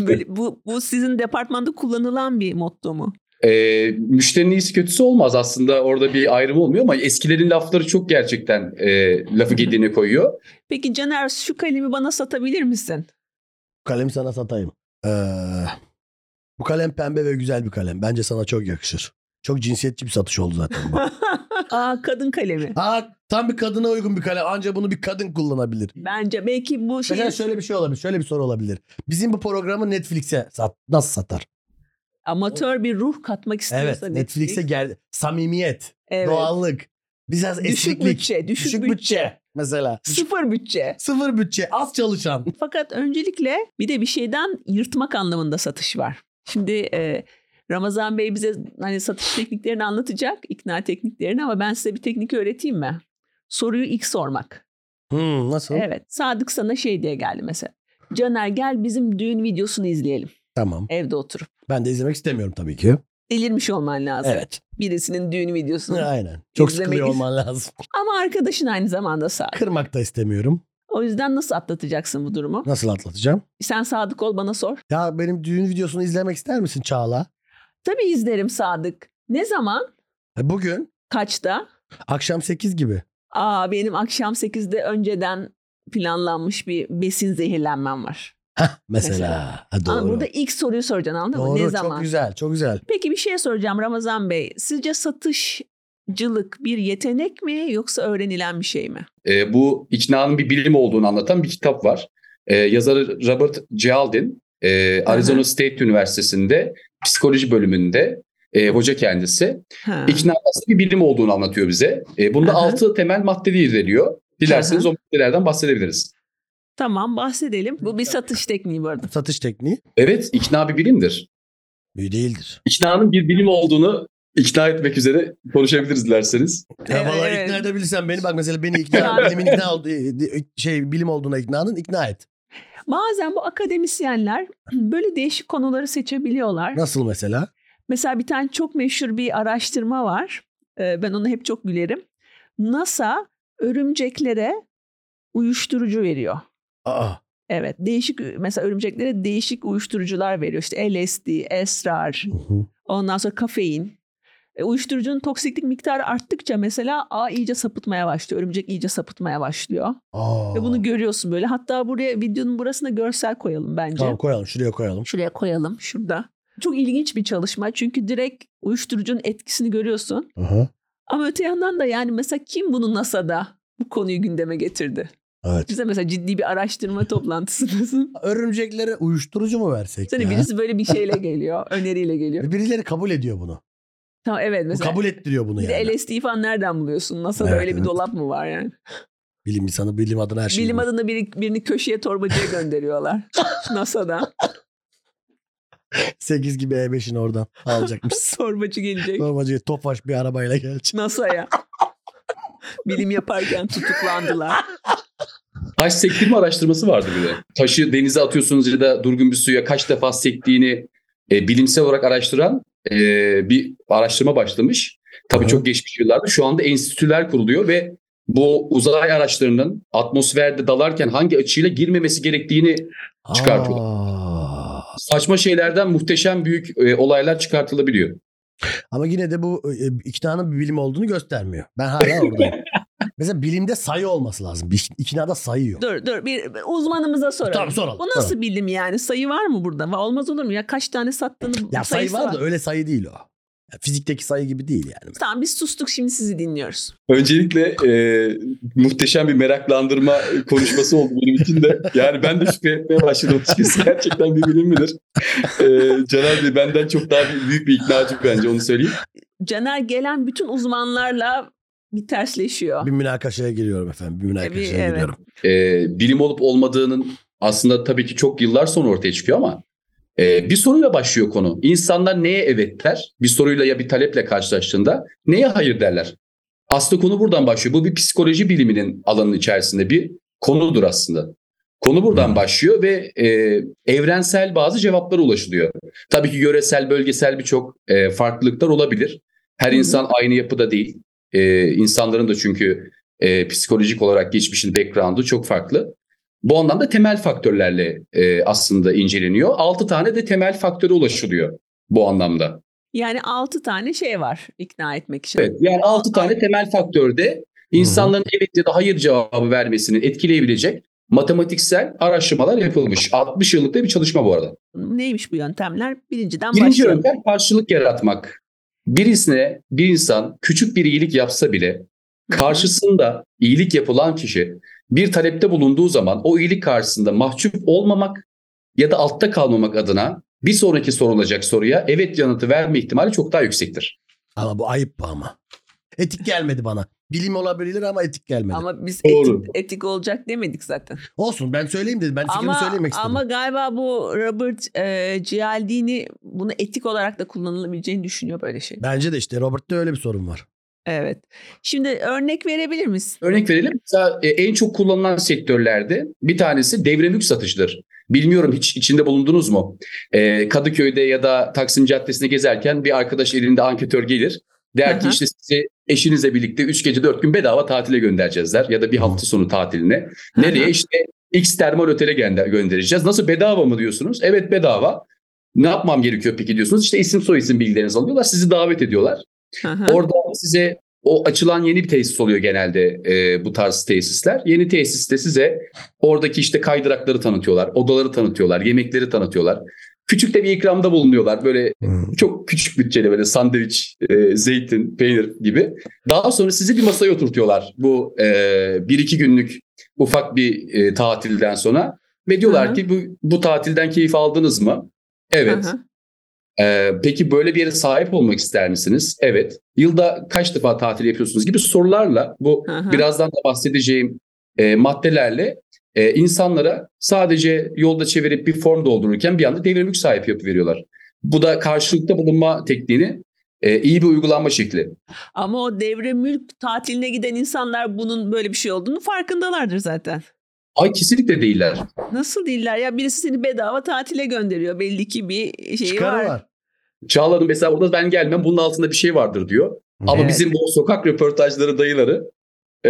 Böyle bu, bu sizin departmanda kullanılan bir motto mu? E, müşterinin iyisi kötüsü olmaz aslında orada bir ayrım olmuyor ama eskilerin lafları çok gerçekten e, lafı gediğine koyuyor. Peki Caner şu kalemi bana satabilir misin? kalemi sana satayım. Ee, bu kalem pembe ve güzel bir kalem. Bence sana çok yakışır. Çok cinsiyetçi bir satış oldu zaten bu. (laughs) Aa kadın kalemi. Ha, tam bir kadına uygun bir kalem. Anca bunu bir kadın kullanabilir. Bence belki bu şey Mesela şöyle bir şey olabilir. Şöyle bir soru olabilir. Bizim bu programı Netflix'e sat, nasıl satar? amatör bir ruh katmak Evet. istiyorsa Netflix'e gel samimiyet, Evet. doğallık, biraz düşük esneklik, bütçe, düşük, düşük bütçe, bütçe mesela. sıfır bütçe. Sıfır bütçe, az (laughs) çalışan. Fakat öncelikle bir de bir şeyden yırtmak anlamında satış var. Şimdi e, Ramazan Bey bize hani satış tekniklerini anlatacak, ikna tekniklerini ama ben size bir teknik öğreteyim mi? Soruyu ilk sormak. Hmm, nasıl? Evet. Sadık sana şey diye geldi mesela. Caner gel bizim düğün videosunu izleyelim Tamam. evde oturup. Ben de izlemek istemiyorum tabii ki. Delirmiş olman lazım. Evet. Birisinin düğün videosunu. Aynen. Çok İzlemek- sıkılıyor olman lazım. Ama arkadaşın aynı zamanda Sadık. Kırmak da istemiyorum. O yüzden nasıl atlatacaksın bu durumu? Nasıl atlatacağım? Sen Sadık ol bana sor. Ya benim düğün videosunu izlemek ister misin Çağla? Tabii izlerim Sadık. Ne zaman? E, Bugün Kaçta? akşam 8 gibi. Aa benim akşam 8'de önceden planlanmış bir besin zehirlenmem var. Mesela. Mesela. Ha, doğru. Ama burada ilk soruyu soracaksın anladın mı? doğru, Ne çok zaman? güzel, çok güzel. Peki bir şey soracağım Ramazan Bey. Sizce satışcılık bir yetenek mi yoksa öğrenilen bir şey mi? E, bu iknanın bir bilim olduğunu anlatan bir kitap var. E, yazarı Robert Cialdin e, Arizona State Üniversitesi'nde psikoloji bölümünde e, hoca kendisi. Ha. İkna aslında bir bilim olduğunu anlatıyor bize. E, bunda Aha. altı temel madde irdeliyor. Dilerseniz o maddelerden bahsedebiliriz. Tamam bahsedelim. Bu bir satış tekniği bu arada. Satış tekniği Evet, ikna bir bilimdir. büyü değildir. İknanın bir bilim olduğunu ikna etmek üzere konuşabiliriz dilerseniz. Ya Evet, vallahi evet. ikna edebilirsen beni bak mesela beni ikna, bilimin ikna olduğu, şey bilim olduğuna iknanın ikna et. Bazen bu akademisyenler (clears throat) böyle değişik konuları seçebiliyorlar. Nasıl mesela? Mesela bir tane çok meşhur bir araştırma var. Ee, Ben ona hep çok gülerim. NASA örümceklere uyuşturucu veriyor. Aa, Evet, değişik mesela örümceklere değişik uyuşturucular veriyor. İşte LSD, esrar, ondan sonra kafein. E, Uyuşturucunun toksiklik miktarı arttıkça mesela a iyice sapıtmaya başlıyor. Örümcek iyice sapıtmaya başlıyor. Aa. Ve bunu görüyorsun böyle. Hatta buraya videonun burasına görsel koyalım bence. Tamam koyalım şuraya koyalım. Şuraya koyalım şurada. Çok ilginç bir çalışma çünkü direkt uyuşturucunun etkisini görüyorsun. Aha. Ama öte yandan da yani mesela kim bunu NASA'da bu konuyu gündeme getirdi? Evet. Bize mesela ciddi bir (laughs) araştırma toplantısındasın. Örümceklere uyuşturucu mu versek Sana ya? birisi böyle bir şeyle (laughs) geliyor, öneriyle geliyor. Birileri kabul ediyor bunu. Tamam evet Bu mesela. kabul ettiriyor bunu bir de yani. LSD falan nereden buluyorsun? NASA'da Evet, öyle bir evet. dolap mı var yani? Bilim insanı bilim adına her şey şeyi Bilim bulur. adına biri, birini köşeye (laughs) torbacıya gönderiyorlar. NASA'da. 8 gibi (laughs) E5'in oradan alacakmışsın. Torbacı gelecek. Torbacıya tofaş bir arabayla gelecek. NASA'ya. Bilim yaparken tutuklandılar. Taş sektirme araştırması vardı bir de. Taşı denize atıyorsunuz ya da durgun bir suya kaç defa sektiğini e, bilimsel olarak araştıran e, bir araştırma başlamış. Tabii Aha. çok geçmiş yıllarda. Şu anda enstitüler kuruluyor ve bu uzay araçlarının atmosferde dalarken hangi açıyla girmemesi gerektiğini Çıkartıyorlar. Aa. saçma şeylerden muhteşem büyük e, olaylar çıkartılabiliyor. Ama yine de bu e, iknanın bir bilim olduğunu göstermiyor. (laughs) Ben hala oradayım. Mesela bilimde sayı olması lazım. Bir- İknada sayı yok. Dur dur bir bir uzmanımıza soralım. Tamam, soralım, Bu nasıl bilim yani? Sayı var mı burada? Va- Olmaz olur mu? Ya kaç tane sattığını Ya sayı sayısı var da öyle sayı değil o. Ya fizikteki sayı gibi değil yani. Tamam biz sustuk şimdi sizi dinliyoruz. Öncelikle e, muhteşem bir meraklandırma konuşması oldu benim için de. Yani ben de şüphe etmeye başladım açıkçası. Gerçekten bir bilim midir? E, Caner Bey benden çok daha büyük bir iknacı bence onu söyleyeyim. Caner gelen bütün uzmanlarla bir tersleşiyor. Bir münakaşaya giriyorum efendim. Bir münakaşaya Ah. evet. giriyorum. E, bilim olup olmadığının aslında tabii ki çok yıllar sonra ortaya çıkıyor ama e, bir soruyla başlıyor konu. İnsanlar neye evet der? Bir soruyla ya bir taleple karşılaştığında neye hayır derler? Aslında konu buradan başlıyor. Bu bir psikoloji biliminin alanının içerisinde bir konudur aslında. Konu buradan başlıyor ve e, evrensel bazı cevaplara ulaşılıyor. Tabii ki yöresel, bölgesel birçok e, farklılıklar olabilir. Her Hı hı. insan aynı yapıda değil. E, insanların da çünkü e, psikolojik olarak geçmişin background'u çok farklı. Bu anlamda temel faktörlerle e, aslında inceleniyor. 6 tane de temel faktöre ulaşılıyor bu anlamda. Yani 6 tane şey var ikna etmek için. Evet, yani 6 tane temel faktörde insanların evet ya da hayır cevabı vermesini etkileyebilecek matematiksel araştırmalar yapılmış. 60 yıllık da bir çalışma bu arada. Neymiş bu yöntemler? Birinciden Birinci başlayalım. yöntem karşılık yaratmak. Birisine bir insan küçük bir iyilik yapsa bile karşısında iyilik yapılan kişi bir talepte bulunduğu zaman o iyilik karşısında mahcup olmamak ya da altta kalmamak adına bir sonraki sorulacak soruya evet yanıtı verme ihtimali çok daha yüksektir. Ama bu ayıp bu ama. Etik gelmedi bana. Bilim olabilir ama etik gelmedi. Ama biz Doğru. etik, etik olacak demedik zaten. Olsun ben söyleyeyim dedim. Ben fikrimi ama, söylemek istedim. ama galiba bu Robert e, Cialdini bunu etik olarak da kullanılabileceğini düşünüyor böyle şey. Bence de işte Robert'te öyle bir sorun var. Evet. Şimdi örnek verebilir misin? Örnek verelim. Mesela e, en çok kullanılan sektörlerde bir tanesi devre mülk satışıdır. Bilmiyorum hiç içinde bulundunuz mu? E, Kadıköy'de ya da Taksim Caddesi'nde gezerken bir arkadaş elinde anketör gelir. Der ki Aha. işte sizi eşinizle birlikte 3 gece 4 gün bedava tatile göndereceğiz der. Ya da bir hafta sonu tatiline. Nereye? işte X termal otele gönder- göndereceğiz. Nasıl bedava mı diyorsunuz? Evet bedava. Ne yapmam gerekiyor peki diyorsunuz. İşte isim soy isim bilgilerinizi alıyorlar. Sizi davet ediyorlar. Aha. Orada size o açılan yeni bir tesis oluyor genelde e, bu tarz tesisler. Yeni tesiste size oradaki işte kaydırakları tanıtıyorlar, odaları tanıtıyorlar, yemekleri tanıtıyorlar. Küçük de bir ikramda bulunuyorlar. Böyle çok küçük bütçeli böyle sandviç, e, zeytin, peynir gibi. Daha sonra sizi bir masaya oturtuyorlar bu e, bir iki günlük ufak bir e, tatilden sonra. Ve diyorlar Hı hı. ki bu, bu tatilden keyif aldınız mı? Evet. Aha. Ee, peki böyle bir yere sahip olmak ister misiniz? Evet. Yılda kaç defa tatil yapıyorsunuz gibi sorularla bu Hı hı. birazdan da bahsedeceğim e, maddelerle e, insanlara sadece yolda çevirip bir form doldururken bir anda devir mülk sahibi yapı veriyorlar. Bu da karşılıkta bulunma tekniğini e, iyi bir uygulanma şekli. Ama o devre mülk tatiline giden insanlar bunun böyle bir şey olduğunu farkındalardır zaten. Ay kesinlikle değiller. Nasıl değiller ya birisi seni bedava tatile gönderiyor belli ki bir şeyi Çıkarı Şey var. var. Çağla'nın mesela orada ben gelmem bunun altında bir şey vardır diyor. Ama Evet. bizim bu sokak röportajları dayıları (laughs)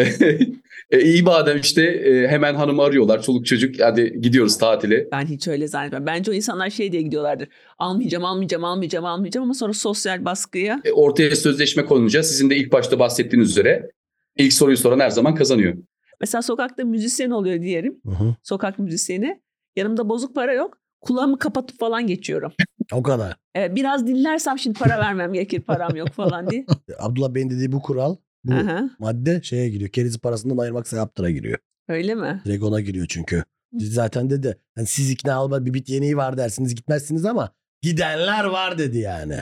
e, iyi madem işte e, hemen hanımı arıyorlar. Çoluk çocuk hadi gidiyoruz tatile. Ben hiç öyle zannetmiyorum. Bence o insanlar şey diye gidiyorlardır. Almayacağım, almayacağım, almayacağım, almayacağım ama sonra sosyal baskıya. E, ortaya sözleşme konulunca sizin de ilk başta bahsettiğiniz üzere ilk soruyu soran her zaman kazanıyor. Mesela sokakta müzisyen oluyor diyelim. Hı hı. Sokak müzisyeni. Yanımda bozuk para yok. Kulağımı kapatıp falan geçiyorum. O kadar. Ee, biraz dinlersem şimdi para vermem gerekir param yok falan diye. Abdullah Bey'in dediği bu kural, bu Aha, madde şeye giriyor. Kerizi parasından ayırmak sevaptıra giriyor. öyle mi? Direkt ona giriyor çünkü. Zaten dedi hani siz ikna olma bir bit yeniği var dersiniz gitmezsiniz ama gidenler var dedi yani.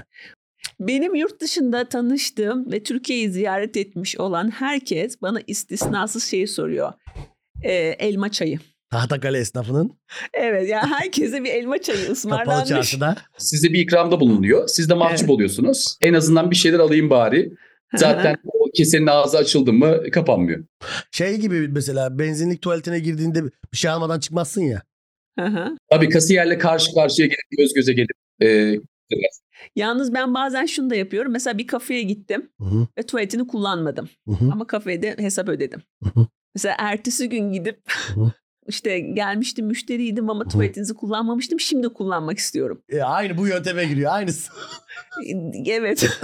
Benim yurt dışında tanıştığım ve Türkiye'yi ziyaret etmiş olan herkes bana istisnasız şeyi soruyor. Ee, elma çayı. Tahtakale esnafının Evet yani herkese bir elma çayı kapalı ısmarlanmış. (laughs) çarşıda Size bir ikramda bulunuyor. Siz de mahcup Evet. oluyorsunuz. En azından bir şeyler alayım bari. Zaten o kesenin ağzı açıldı mı kapanmıyor. şey gibi mesela benzinlik tuvaletine girdiğinde bir şey almadan çıkmazsın ya. Aha. Tabii kasiyerle karşı karşıya gelip göz göze gelip e, Yalnız ben bazen şunu da yapıyorum. Mesela bir kafeye gittim Hı hı, ve tuvaletini kullanmadım. hı hı. Ama kafede hesap ödedim. Hı hı. Mesela ertesi gün gidip hı. (laughs) işte gelmiştim müşteriydim ama hı. tuvaletinizi kullanmamıştım. Şimdi kullanmak istiyorum. E, aynı bu yönteme giriyor. Aynısı. (laughs) Evet. (laughs)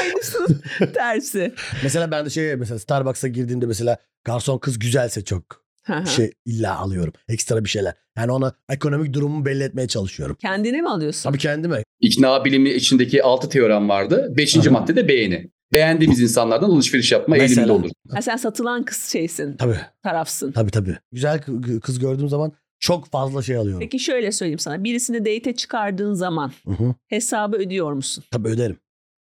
Aynısının tersi. mesela ben de şey mesela Starbucks'a girdiğimde mesela garson kız güzelse çok Hı hı. şey illa alıyorum. Ekstra bir şeyler. Yani ona ekonomik durumumu belli etmeye çalışıyorum. Kendine mi alıyorsun? Tabii kendime. İkna bilimi içindeki 6 teorem vardı. 5. Aha. madde de beğeni. Beğendiğimiz insanlardan alışveriş yapma Mesela. eğiliminde olur. Ha, sen satılan kız şeysin, Tabii tarafsın. tabii tabii. Güzel kı- kız gördüğüm zaman çok fazla şey alıyorum. Peki şöyle söyleyeyim sana. Birisini date'e çıkardığın zaman Hı hı. hesabı ödüyor musun? Tabii öderim.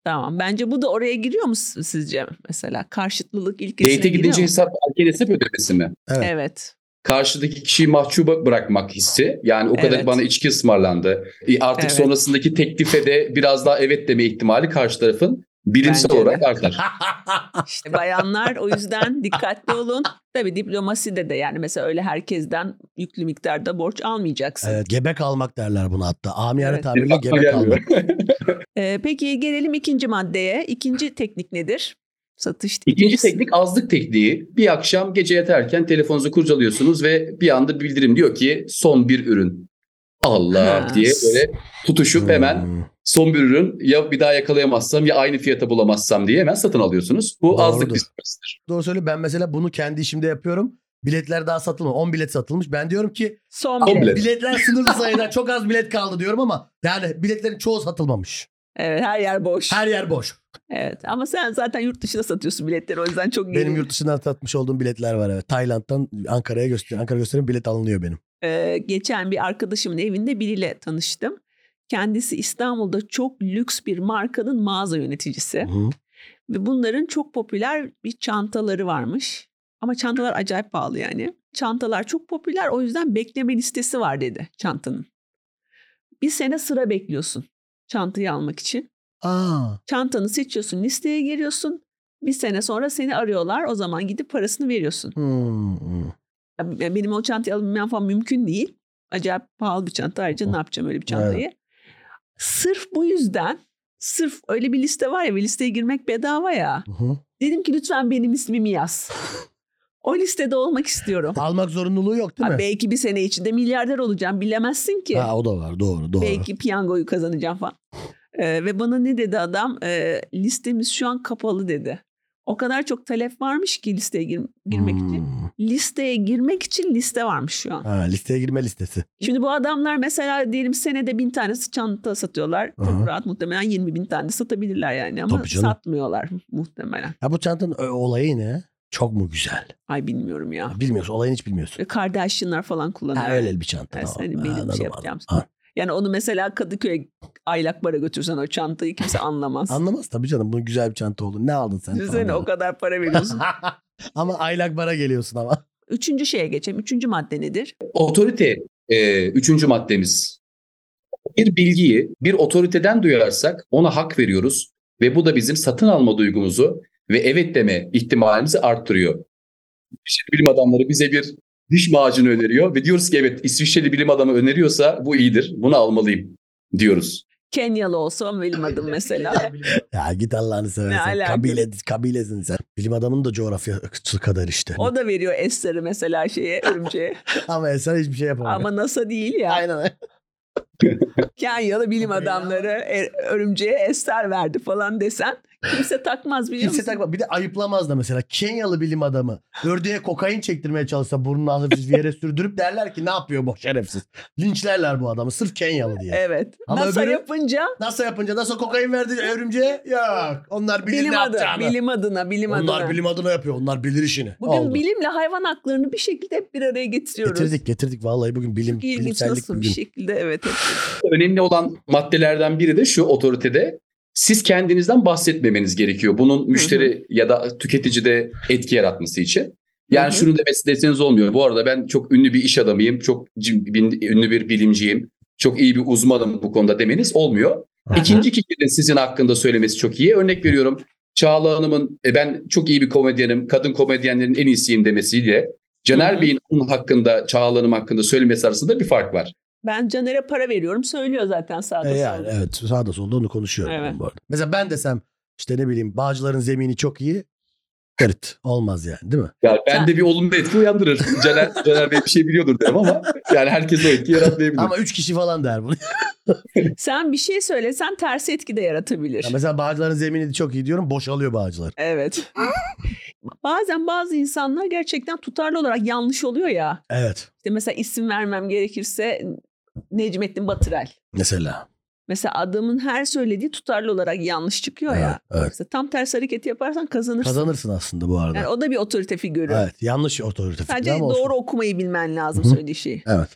Tamam. Bence bu da oraya giriyor mu s- sizce mesela? Karşıtlılık ilkesine Date'e giriyor gidince mu? hesap erken hesap ödemesi mi? Evet. Karşıdaki kişiyi mahcuba bırakmak hissi. Yani o kadar Evet. bana içki ısmarlandı. E, artık Evet. sonrasındaki teklife de biraz daha evet deme ihtimali karşı tarafın bilimsel Bence de. (laughs) olarak artar. İşte bayanlar o (laughs) yüzden dikkatli olun. Tabii diplomaside de yani mesela öyle herkesten yüklü miktarda borç almayacaksın. Evet, gebek almak derler buna hatta. Amiyane Evet. tabirle Aklıma gebek gelmiyor. almak. (laughs) Ee, peki gelelim ikinci maddeye. İkinci teknik nedir? Satış tekniği. (laughs) İkinci teknik azlık tekniği. Bir akşam gece yatarken telefonunuzu kurcalıyorsunuz ve bir anda bildirim diyor ki son bir ürün. Allah Ha. diye böyle tutuşup hemen Hmm. son bir ürün ya bir daha yakalayamazsam ya aynı fiyata bulamazsam diye hemen satın alıyorsunuz. Bu Doğrudur. azlık psikolojisidir. Doğru söyle ben mesela bunu kendi işimde yapıyorum. Biletler daha satılmamış. 10 bilet satılmış. Ben diyorum ki Son "Aa, bilet. bilet." biletler sınırlı sayıda çok az bilet kaldı diyorum ama yani biletlerin çoğu satılmamış. Evet her yer boş. Her yer boş. Evet ama sen zaten yurt dışına satıyorsun biletleri o yüzden çok Benim iyi. yurt dışından satmış olduğum biletler var evet. Tayland'dan Ankara'ya göster Ankara gösterim bilet alınıyor benim. Ee, geçen bir arkadaşımın evinde biriyle tanıştım. Kendisi İstanbul'da çok lüks bir markanın mağaza yöneticisi. Hı. Ve bunların çok popüler bir çantaları varmış. Ama çantalar acayip pahalı yani. Çantalar çok popüler o yüzden bekleme listesi var dedi çantanın. Bir sene sıra bekliyorsun çantayı almak için. Aa. Çantanı seçiyorsun listeye giriyorsun. Bir sene sonra seni arıyorlar o zaman gidip parasını veriyorsun. Hmm, hmm. Yani benim o çantayı alabilmem falan mümkün değil. Acayip pahalı bir çanta ayrıca ne yapacağım öyle bir çantayı. Sırf bu yüzden sırf öyle bir liste var ya bir listeye girmek bedava ya. Hı hı. Dedim ki lütfen benim ismimi yaz. o listede olmak istiyorum. Almak zorunluluğu yok değil Ha, mi? belki bir sene içinde milyarder olacağım bilemezsin ki. Ha, o da var doğru doğru. belki piyangoyu kazanacağım falan. Ee, ve bana ne dedi adam? Ee, listemiz şu an kapalı dedi. O kadar çok talep varmış ki listeye gir- girmek için. Hmm. Listeye girmek için liste varmış şu an. Ha, listeye girme listesi. Şimdi bu adamlar mesela diyelim senede bin tane çanta satıyorlar. Aha. Çok rahat muhtemelen 20 bin tane satabilirler yani ama Tabii canım. satmıyorlar muhtemelen. Ya bu çantanın ö- olayı ne? Çok mu güzel? Ay bilmiyorum ya. Ha, Bilmiyorsun olayını hiç bilmiyorsun. Ve Kardashian'lar falan kullanıyor. Ha, öyle bir çanta. Yani tamam. seni benim Ha, şey anladım, anladım. yapacağım. Ha, Yani onu mesela Kadıköy'e aylak bara götürsen o çantayı kimse anlamaz. Anlamaz tabii canım bunun güzel bir çanta olduğunu. Ne aldın (laughs) sen? Düşünsene o falan. kadar para veriyorsun. (laughs) ama aylak bara geliyorsun ama. (laughs) Üçüncü şeye geçelim. Üçüncü madde nedir? Otorite e, üçüncü maddemiz. Bir bilgiyi bir otoriteden duyarsak ona hak veriyoruz ve bu da bizim satın alma duygumuzu ve evet deme ihtimalimizi arttırıyor. İsviçreli bilim adamları bize bir diş macunu öneriyor ve diyoruz ki evet İsviçreli bilim adamı öneriyorsa bu iyidir. Bunu almalıyım diyoruz. Kenyalı olsam benim adım mesela. Ya git Allah'ını seversen. alaka? Kabile, kabilesin sen. Bilim adamının da coğrafyası kadar işte. O da veriyor eseri mesela şeye, örümceğe. (laughs) ama Eser hiçbir şey yapamıyor. (laughs) Ama NASA değil ya. Aynen. Kenyalı bilim Ama ya. adamları e- örümceğe eser verdi falan desen kimse takmaz biliyor Kimse musun? takma. Bir de ayıplamaz da mesela. Kenyalı bilim adamı ördeğe kokain çektirmeye çalışsa burnunu hafif bir yere sürdürüp derler ki ne yapıyor bu şerefsiz. Linçlerler bu adamı sırf Kenyalı diye. Evet. Ama NASA öbürü- yapınca Nasıl yapınca nasıl kokain verdi örümceğe? Yok. Onlar bilir bilim ne adı, yapacağını. bilim adına, bilim Onlar adına. bilim adına yapıyor. Onlar bilir işini. Bugün Oldu. bilimle hayvan haklarını bir şekilde hep bir araya getiriyoruz. Getirdik getirdik. Vallahi bugün bilim, İlginç bilimsellik nasıl bir şey? bugün. şekilde evet. hep- Önemli olan maddelerden biri de şu otoritede siz kendinizden bahsetmemeniz gerekiyor. Bunun müşteri ya da tüketicide etki yaratması için. Yani Hı hı. şunu demesi deseniz olmuyor. Bu arada ben çok ünlü bir iş adamıyım, çok cim- bin- ünlü bir bilimciyim, çok iyi bir uzmanım bu konuda demeniz olmuyor. Aha. İkinci kişinin sizin hakkında söylemesi çok iyi. Örnek veriyorum Çağla Hanım'ın "E, ben çok iyi bir komedyenim, kadın komedyenlerin en iyisiyim demesiyle Hı hı. Caner Bey'in onun hakkında, Çağla Hanım hakkında söylemesi arasında bir fark var. Ben Caner'e para veriyorum. Söylüyor zaten sağda E yani solda. evet sağda solda onu konuşuyorum Evet. ben bu arada. Mesela ben desem işte ne bileyim Bağcılar'ın zemini çok iyi. Kırıt. Olmaz yani değil mi? Yani bende bir olumlu etki uyandırır. Caner, Caner Bey bir şey biliyordur derim ama yani herkes o etki yaratmayabilir. Ama üç kişi falan (laughs) der bunu. Sen bir şey söylesen ters etki de yaratabilir. Ya mesela Bağcılar'ın zemini çok iyi diyorum boşalıyor Bağcılar. (laughs) Evet. Bazen bazı insanlar gerçekten tutarlı olarak yanlış oluyor ya. Evet İşte mesela isim vermem gerekirse Necmettin Batırel. mesela. Mesela adamın her söylediği tutarlı olarak yanlış çıkıyor Evet, ya. evet. Mesela tam ters hareket yaparsan kazanırsın. Kazanırsın aslında bu arada. Yani o da bir otorite figürü. Evet yanlış otorite fikri Sadece ama doğru olsun. okumayı bilmen lazım Hı hı. söylediği şeyi. Evet.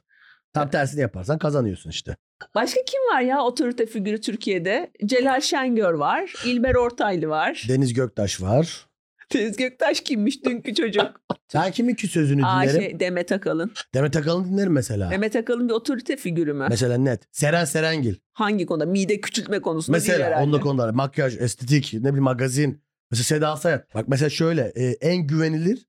Tam tersini yaparsan kazanıyorsun işte. Başka kim var ya otorite figürü Türkiye'de? Celal Şengör var. İlber Ortaylı var. Deniz Göktaş var. Deniz Göktaş kimmiş dünkü çocuk? Ben kimin ki sözünü Aa, dinlerim? şey, Demet Akalın. Demet Akalın dinlerim mesela. Mehmet Akalın bir otorite figürü mü? Mesela net. Seren Serengil. Hangi konuda? Mide küçültme konusunda değil Mesela herhalde. onunla konular. Makyaj, estetik, ne bileyim magazin. Mesela Seda Sayan. Bak mesela şöyle e, en güvenilir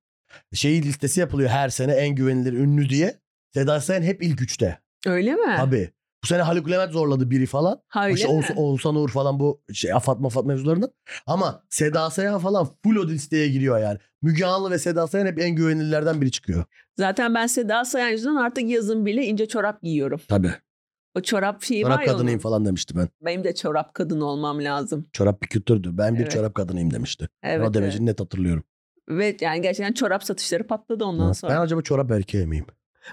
şeyi listesi yapılıyor her sene en güvenilir ünlü diye. Seda Sayan hep ilk üçte. Öyle mi? Abi. Bu sene Haluk Levent zorladı biri falan. ha, öyle İşte mi? Oğuz- Oğuzhan Uğur falan bu şey afat mafat mevzularından. Ama Seda Sayan falan full o listeye giriyor yani. Müge Anlı ve Seda Sayan hep en güvenilirlerden biri çıkıyor. Zaten ben Seda Sayan yüzünden artık yazın bile ince çorap giyiyorum. Tabii. O çorap şeyi var Çorap ya kadınıyım onun. falan demişti ben. Benim de çorap kadın olmam lazım. Çorap bir kültürdü. Ben bir Evet. çorap kadınıyım demişti. Ben Evet. o demecini net hatırlıyorum. Ve yani gerçekten çorap satışları patladı ondan Ha. sonra. Ben acaba çorap erkeği miyim?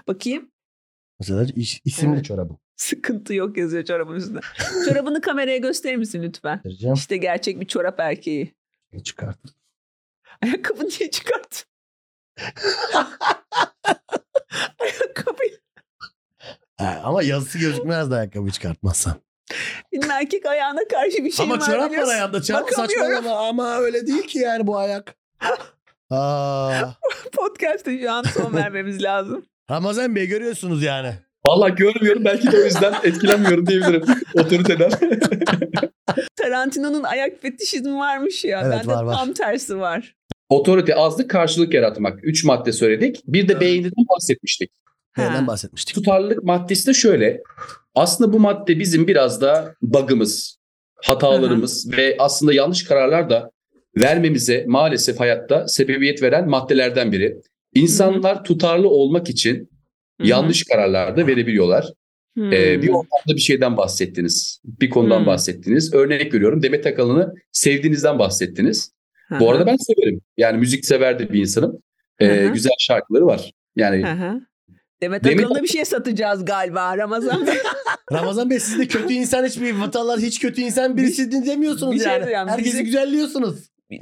Bakayım. (laughs) Mesela iş, isimli Evet. çorabım. Sıkıntı yok yazıyor çorabın (laughs) üstünde. Çorabını kameraya gösterir misin lütfen? Vereceğim. İşte gerçek bir çorap (laughs) erkeği. Çıkart. Ayakkabı niye (laughs) çıkarttın? Ayakkabıyı. Ha, ama yazısı gözükmez de ayakkabı çıkartmazsan. Benim erkek ayağına karşı bir şey ama var çorap var biliyorsun. ayağımda. Çorap Bakamıyorum. saçmalama ama öyle değil ki yani (laughs) bu ayak. Aa, Podcast'ı şu an (laughs) son vermemiz lazım. Ramazan Bey görüyorsunuz yani. Vallahi görmüyorum belki de o yüzden etkilenmiyorum diyebilirim (laughs) otoriteden. Tarantino'nun ayak fetişizmi varmış ya. Evet, Bende var, var. tam tersi var. Otorite azlık karşılık yaratmak. Üç madde söyledik. Bir de beğeniden bahsetmiştik. Ha. Neyden bahsetmiştik? Tutarlılık maddesi de şöyle. Aslında bu madde bizim biraz da bug'ımız, hatalarımız ve aslında yanlış kararlar da vermemize maalesef hayatta sebebiyet veren maddelerden biri. İnsanlar tutarlı olmak için Hı hı. yanlış kararlar da verebiliyorlar. Hmm. Ee, bir ortamda bir şeyden bahsettiniz. Bir konudan Hmm. bahsettiniz. Örnek veriyorum Demet Akalın'ı sevdiğinizden bahsettiniz. Hı Bu hı. arada ben severim. Yani müzik sever de bir insanım. Ee, Hı hı. güzel şarkıları var. Yani Hı hı. Demet Demet- Akalın'a bir şey satacağız galiba (laughs) Ramazan Bey. Ramazan Bey siz de kötü insan hiçbir vatanlar hiç kötü insan birisi demiyorsunuz bir şey yani. diyeceğim. Herkesi Bizi- güzelliyorsunuz.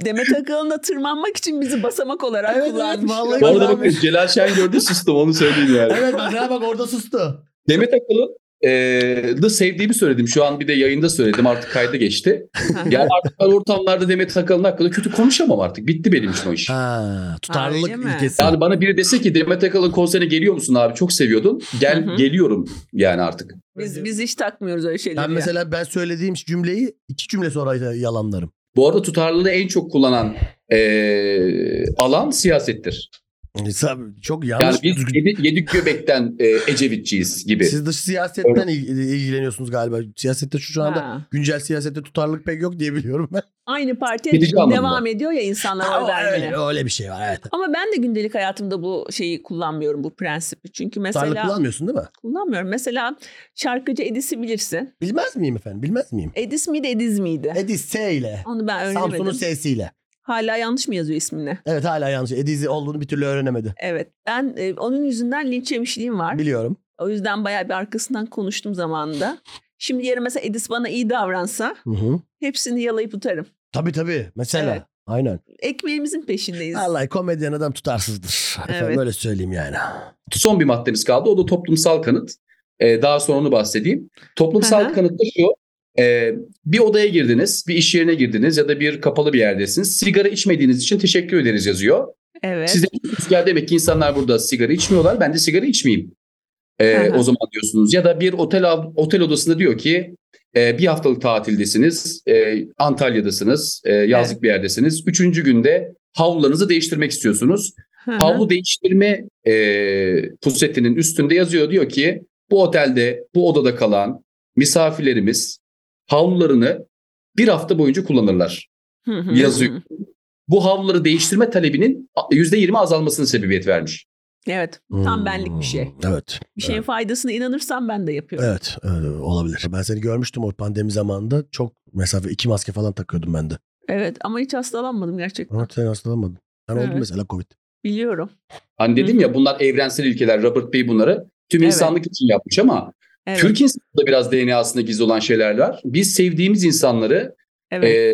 Demet Akalın'a tırmanmak için bizi basamak olarak Evet, evet, kullanmış. vallahi Bu arada bakın Güzelmiş. Celal Şen gördü sustum onu (laughs) söyleyeyim yani. Evet mesela bak orada sustu. Demet Akalın eee, da sevdiğimi söyledim. Şu an bir de yayında söyledim artık kayda geçti. Yani artık ben ortamlarda Demet Akalın hakkında kötü konuşamam artık. Bitti benim için o iş. Ha, tutarlılık tutarlılık öyle mi? ilkesi. Yani bana biri dese ki Demet Akalın konserine geliyor musun abi çok seviyordun. Gel Hı hı. geliyorum yani artık. Biz, biz hiç takmıyoruz öyle şeyleri. ben ya. mesela ben söylediğim cümleyi iki cümle sonra yalanlarım. Bu arada tutarlılığı en çok kullanan eee, alan siyasettir. İnsan- Çok Yani yanlış. biz düzgün- yedi, yedi göbekten eee, Ecevitçiyiz gibi. Siz dış siyasetten il- ilgileniyorsunuz galiba. Siyasette şu, şu anda Ha. güncel siyasette tutarlılık pek yok diye biliyorum ben. Aynı partiye Gidici devam anlamında. ediyor ya insanlar oy Ama vermeye. öyle, öyle bir şey var evet. Ama ben de gündelik hayatımda bu şeyi kullanmıyorum bu prensibi. Çünkü Tutarlılık mesela kullanmıyorsun değil mi? kullanmıyorum. Mesela şarkıcı Edis'i bilirsin. Bilmez miyim efendim? Bilmez miyim? Edis miydi Ediz miydi? Edis S ile. Onu ben Samsun'un öğrenemedim. sesiyle. Hala yanlış mı yazıyor ismini? Evet hala yanlış. Ediz'i olduğunu bir türlü öğrenemedi. Evet. Ben e, onun yüzünden linç yemişliğim var. Biliyorum. O yüzden bayağı bir arkasından konuştum zamanında. Şimdi yarın mesela Edis bana iyi davransa Hı hı. hepsini yalayıp atarım. Tabii tabii. Mesela. Evet. Aynen. Ekmeğimizin peşindeyiz. Vallahi komedyen adam tutarsızdır. Evet. Efendim, öyle söyleyeyim yani. Son bir maddemiz kaldı. O da toplumsal kanıt. Ee, daha sonra onu bahsedeyim. Hı hı. Toplumsal kanıt da şu. Ee, bir odaya girdiniz, bir iş yerine girdiniz ya da bir kapalı bir yerdesiniz. Sigara içmediğiniz için teşekkür ederiz yazıyor. Evet. Siz de diyorsunuz ki, "Ya demek ki insanlar burada sigara içmiyorlar. Ben de sigara içmeyeyim. Ee, Hı hı. o zaman diyorsunuz. Ya da bir otel av- otel odasında diyor ki e, bir haftalık tatildesiniz. e, Antalya'dasınız. e, yazlık bir yerdesiniz. Üçüncü günde havlularınızı değiştirmek istiyorsunuz. Hı hı. Havlu değiştirme e, pusetinin üstünde yazıyor diyor ki bu otelde, bu odada kalan misafirlerimiz havlularını bir hafta boyunca kullanırlar. Hı hı. Yazıyor. Bu havluları değiştirme talebinin %20 azalmasına sebebiyet vermiş. Evet. Hmm. Tam benlik bir şey. Evet. Bir şeyin faydasına inanırsam ben de yapıyorum. Evet, evet, olabilir. Ben seni görmüştüm o pandemi zamanında. Çok mesafe iki maske falan takıyordum ben de. Evet ama hiç hastalanmadım gerçekten. Ama sen hastalanmadın. Sen oldun Evet. mesela Covid. Biliyorum. Hani dedim ya bunlar evrensel ilkeler. Robert Bey bunları tüm Evet. insanlık için yapmış ama Evet. Türk insanında biraz DNA'sında gizli olan şeyler var. Biz sevdiğimiz insanları evet. e,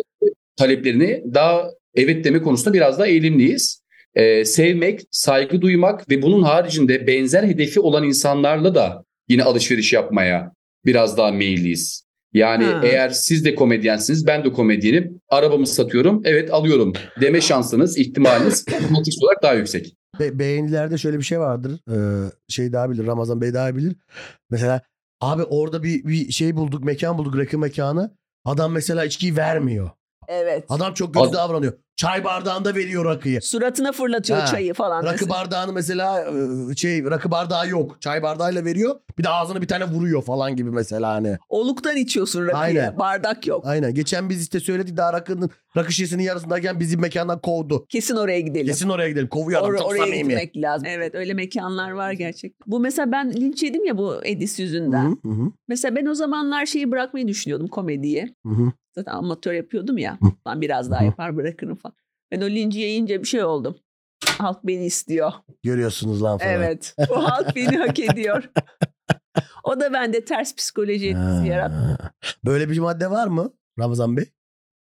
taleplerini daha evet deme konusunda biraz daha eğilimliyiz. E, sevmek, saygı duymak ve bunun haricinde benzer hedefi olan insanlarla da yine alışveriş yapmaya biraz daha meyilliyiz. Yani Ha. eğer siz de komedyensiniz, ben de komedyenim, arabamı satıyorum, evet alıyorum deme (coughs) şansınız, ihtimaliniz otomatik olarak daha yüksek. Be- beğenilerde şöyle bir şey vardır. Ee, şey daha bilir. Ramazan Bey daha bilir. Mesela abi orada bir, bir şey bulduk. Mekan bulduk. Rakı mekanı. Adam mesela içkiyi vermiyor. e, evet. Adam çok kötü Az- davranıyor. Çay bardağında veriyor rakıyı. Suratına fırlatıyor Ha, çayı falan. Rakı mesela. bardağını mesela e, şey rakı bardağı yok. Çay bardağıyla veriyor. Bir de ağzına bir tane vuruyor falan gibi mesela hani. Oluktan içiyorsun rakıyı. Aynen. Bardak yok. Aynen. Geçen biz işte söyledik daha rakının rakı şişesinin yarısındayken bizi mekandan kovdu. Kesin oraya gidelim. Kesin oraya gidelim. Kovuyor adam Or- çok oraya samimi. gitmek lazım. Evet öyle mekanlar var gerçekten. Bu mesela ben linç yedim ya bu Edis Hı yüzünden. hı, hı Mesela ben o zamanlar şeyi bırakmayı düşünüyordum komediye. hı, hı. Zaten amatör yapıyordum ya. Hı. Ben biraz Hı. daha yapar bırakırım falan. Ben o linci yiyince bir şey oldum. Halk beni istiyor. Görüyorsunuz lan falan. Evet. Bu halk beni hak (laughs) ediyor. O da bende ters psikoloji etkisi yarattı. Ha. Böyle bir madde var mı Ramazan Bey?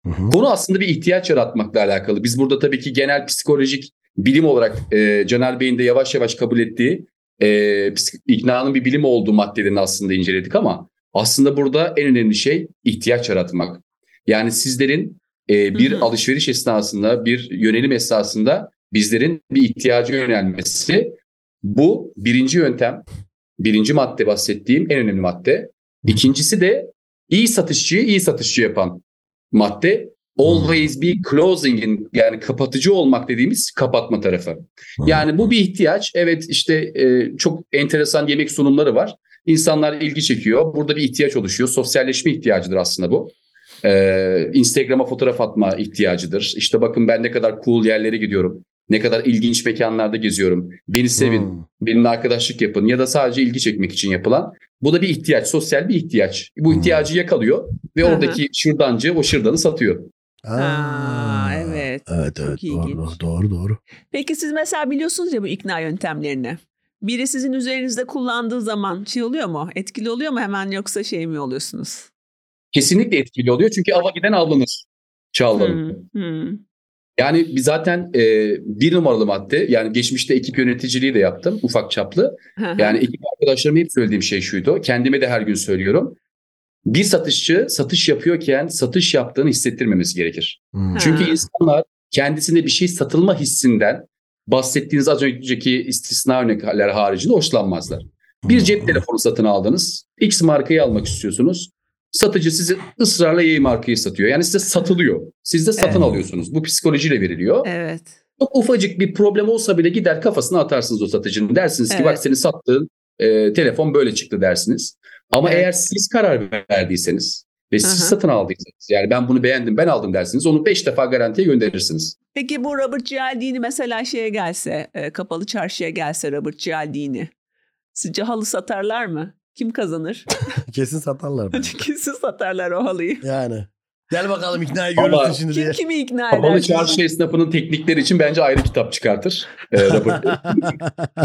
Hmm. Hı hı. Bunu aslında bir ihtiyaç yaratmakla alakalı. Biz burada tabii ki genel psikolojik bilim olarak e, Caner Bey'in de yavaş yavaş kabul ettiği e, psik- iknanın bir bilim olduğu maddelerini aslında inceledik ama aslında burada en önemli şey ihtiyaç yaratmak. Yani sizlerin e, bir Hı hı. alışveriş esnasında, bir yönelim esnasında bizlerin bir ihtiyacı yönelmesi. Bu birinci yöntem, birinci madde bahsettiğim en önemli madde. İkincisi de iyi satışçıyı iyi satışçı yapan madde. Always be closing'in yani kapatıcı olmak dediğimiz kapatma tarafı. Yani bu bir ihtiyaç. Evet işte e, çok enteresan yemek sunumları var. İnsanlar ilgi çekiyor. Burada bir ihtiyaç oluşuyor. Sosyalleşme ihtiyacıdır aslında bu. Ee, Instagram'a fotoğraf atma ihtiyacıdır. İşte bakın ben ne kadar cool yerlere gidiyorum. Ne kadar ilginç mekanlarda geziyorum. Beni sevin, Hmm. benimle arkadaşlık yapın ya da sadece ilgi çekmek için yapılan. Bu da bir ihtiyaç, sosyal bir ihtiyaç. Bu Hmm. ihtiyacı yakalıyor ve Hı hı. oradaki şırdancı o şırdanı satıyor. Aa, evet. Evet Çok evet doğru, ilginç. doğru doğru doğru. Peki siz mesela biliyorsunuz ya bu ikna yöntemlerini. Biri sizin üzerinizde kullandığı zaman şey oluyor mu? Etkili oluyor mu hemen yoksa şey mi oluyorsunuz? Kesinlikle etkili oluyor çünkü ava giden avlanır. Çağlarım. Hmm, hmm. Yani biz zaten e, bir numaralı madde yani geçmişte ekip yöneticiliği de yaptım ufak çaplı. Hı hı. Yani ekip arkadaşlarıma hep söylediğim şey şuydu. Kendime de her gün söylüyorum. Bir satışçı satış yapıyorken satış yaptığını hissettirmemesi gerekir. Hmm. Ha. Çünkü insanlar kendisine bir şey satılma hissinden bahsettiğiniz az önceki istisna örnekler haricinde hoşlanmazlar. Bir cep telefonu satın aldınız. X markayı almak istiyorsunuz. Satıcı size ısrarla Y markayı satıyor. Yani size satılıyor. Siz de satın Evet. alıyorsunuz. Bu psikolojiyle veriliyor. Evet. Çok ufacık bir problem olsa bile gider kafasına atarsınız o satıcının. Dersiniz ki Evet. bak senin sattığın e, telefon böyle çıktı dersiniz. Ama Evet. eğer siz karar verdiyseniz ve siz Hı hı. satın aldıysanız yani ben bunu beğendim ben aldım dersiniz onu 5 defa garantiye gönderirsiniz. Peki bu Robert Cialdini mesela şeye gelse, e, kapalı çarşıya gelse Robert Cialdini. Sizce halı satarlar mı? Kim kazanır? (laughs) (laughs) Kesin satarlar bunu. Kesin satarlar o halıyı. yani. Gel bakalım ikna Ama- görürsün şimdi Kim diye. kimi ikna eder? Kapalı çarşı esnafının teknikleri için bence ayrı kitap çıkartır. E, (laughs) Robert Bey.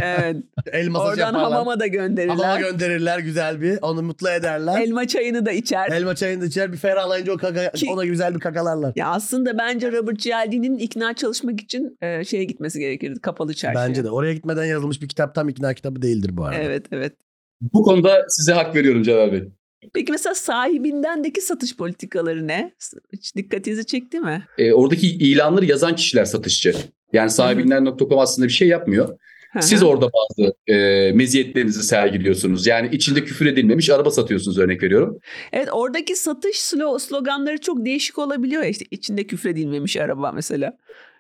Evet. El masaj Oradan yaparlar. hamama da Hamama gönderirler. gönderirler güzel bir. Onu mutlu ederler. Elma çayını da içer. Elma çayını da içer bir ferahlayınca o kaka, Ki- ona güzel bir kakalarlar. Ya aslında bence Robert Cialdini'nin ikna çalışmak için e, şeye gitmesi gerekirdi kapalı çarşıya. Bence de. Oraya gitmeden yazılmış bir kitap tam ikna kitabı değildir bu arada. Evet evet. Bu konuda size hak veriyorum Celal Bey. Peki mesela sahibindendeki satış politikaları ne? Hiç dikkatinizi çekti mi? E, oradaki ilanları yazan kişiler satışçı. Yani sahibinden.com aslında bir şey yapmıyor. Siz orada bazı e, meziyetlerinizi sergiliyorsunuz. Yani içinde küfür edilmemiş araba satıyorsunuz örnek veriyorum. Evet oradaki satış slo- sloganları çok değişik olabiliyor. ya. İşte içinde küfredilmemiş araba mesela.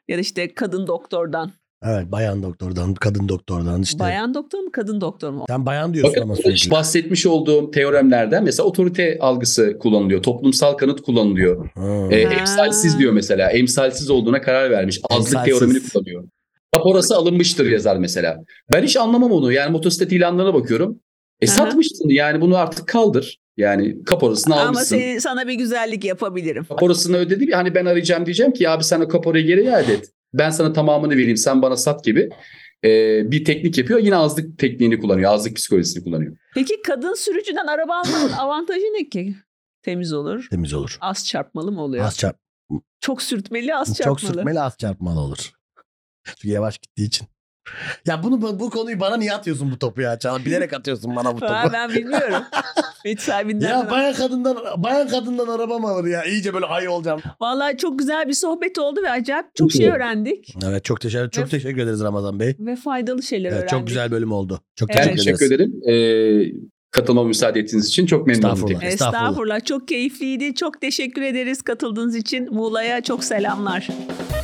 Ya da işte kadın doktordan. Evet bayan doktordan, kadın doktordan işte. Bayan doktor mu kadın doktor mu? Sen bayan diyorsun Bakın ama sürekli. bahsetmiş olduğum teoremlerden mesela otorite algısı kullanılıyor. Toplumsal kanıt kullanılıyor. Ha. E, Ha. emsalsiz diyor mesela. Emsalsiz olduğuna karar vermiş. Azlık Emsalsiz. teoremini kullanıyor. Raporası alınmıştır yazar mesela. Ben hiç anlamam onu. Yani motosiklet ilanlarına bakıyorum. E Aha. satmışsın yani bunu artık kaldır. Yani kaporasını Ama şey almışsın. seni, sana bir güzellik yapabilirim. Kaporasını ödedi. Hani ben arayacağım diyeceğim ki abi sana kaporayı geri iade et. Ben sana tamamını vereyim sen bana sat gibi. E, bir teknik yapıyor. Yine azlık tekniğini kullanıyor. Azlık psikolojisini kullanıyor. Peki kadın sürücüden araba almanın (clears throat) avantajı ne ki? Temiz olur. Temiz olur. Az çarpmalı mı oluyor? Az çarp. Çok sürtmeli, az çarpmalı. Çok sürtmeli az çarpmalı olur. Çünkü yavaş gittiği için. Ya bunu bu- bu konuyu bana niye atıyorsun bu topu ya? Çağla bilerek (laughs) atıyorsun bana bu topu. Ha, ben (laughs) bilmiyorum. Hiç sahibinden. ya Ya bayan kadından bayan kadından araba mı alır ya? İyice böyle ay olacağım. Vallahi çok güzel bir sohbet oldu ve acayip çok şey Evet. öğrendik. Evet çok teşekkür çok Evet. teşekkür ederiz Ramazan Bey. Ve faydalı şeyler Evet, öğrendik. çok güzel bölüm oldu. Çok Evet. Ben teşekkür, teşekkür ederiz. ederim. E, katılmama müsaade ettiğiniz için çok memnunum. Estağfurullah. tekrar. Estağfurullah. Estağfurullah. Çok keyifliydi. Çok teşekkür ederiz katıldığınız için. Muğla'ya çok selamlar.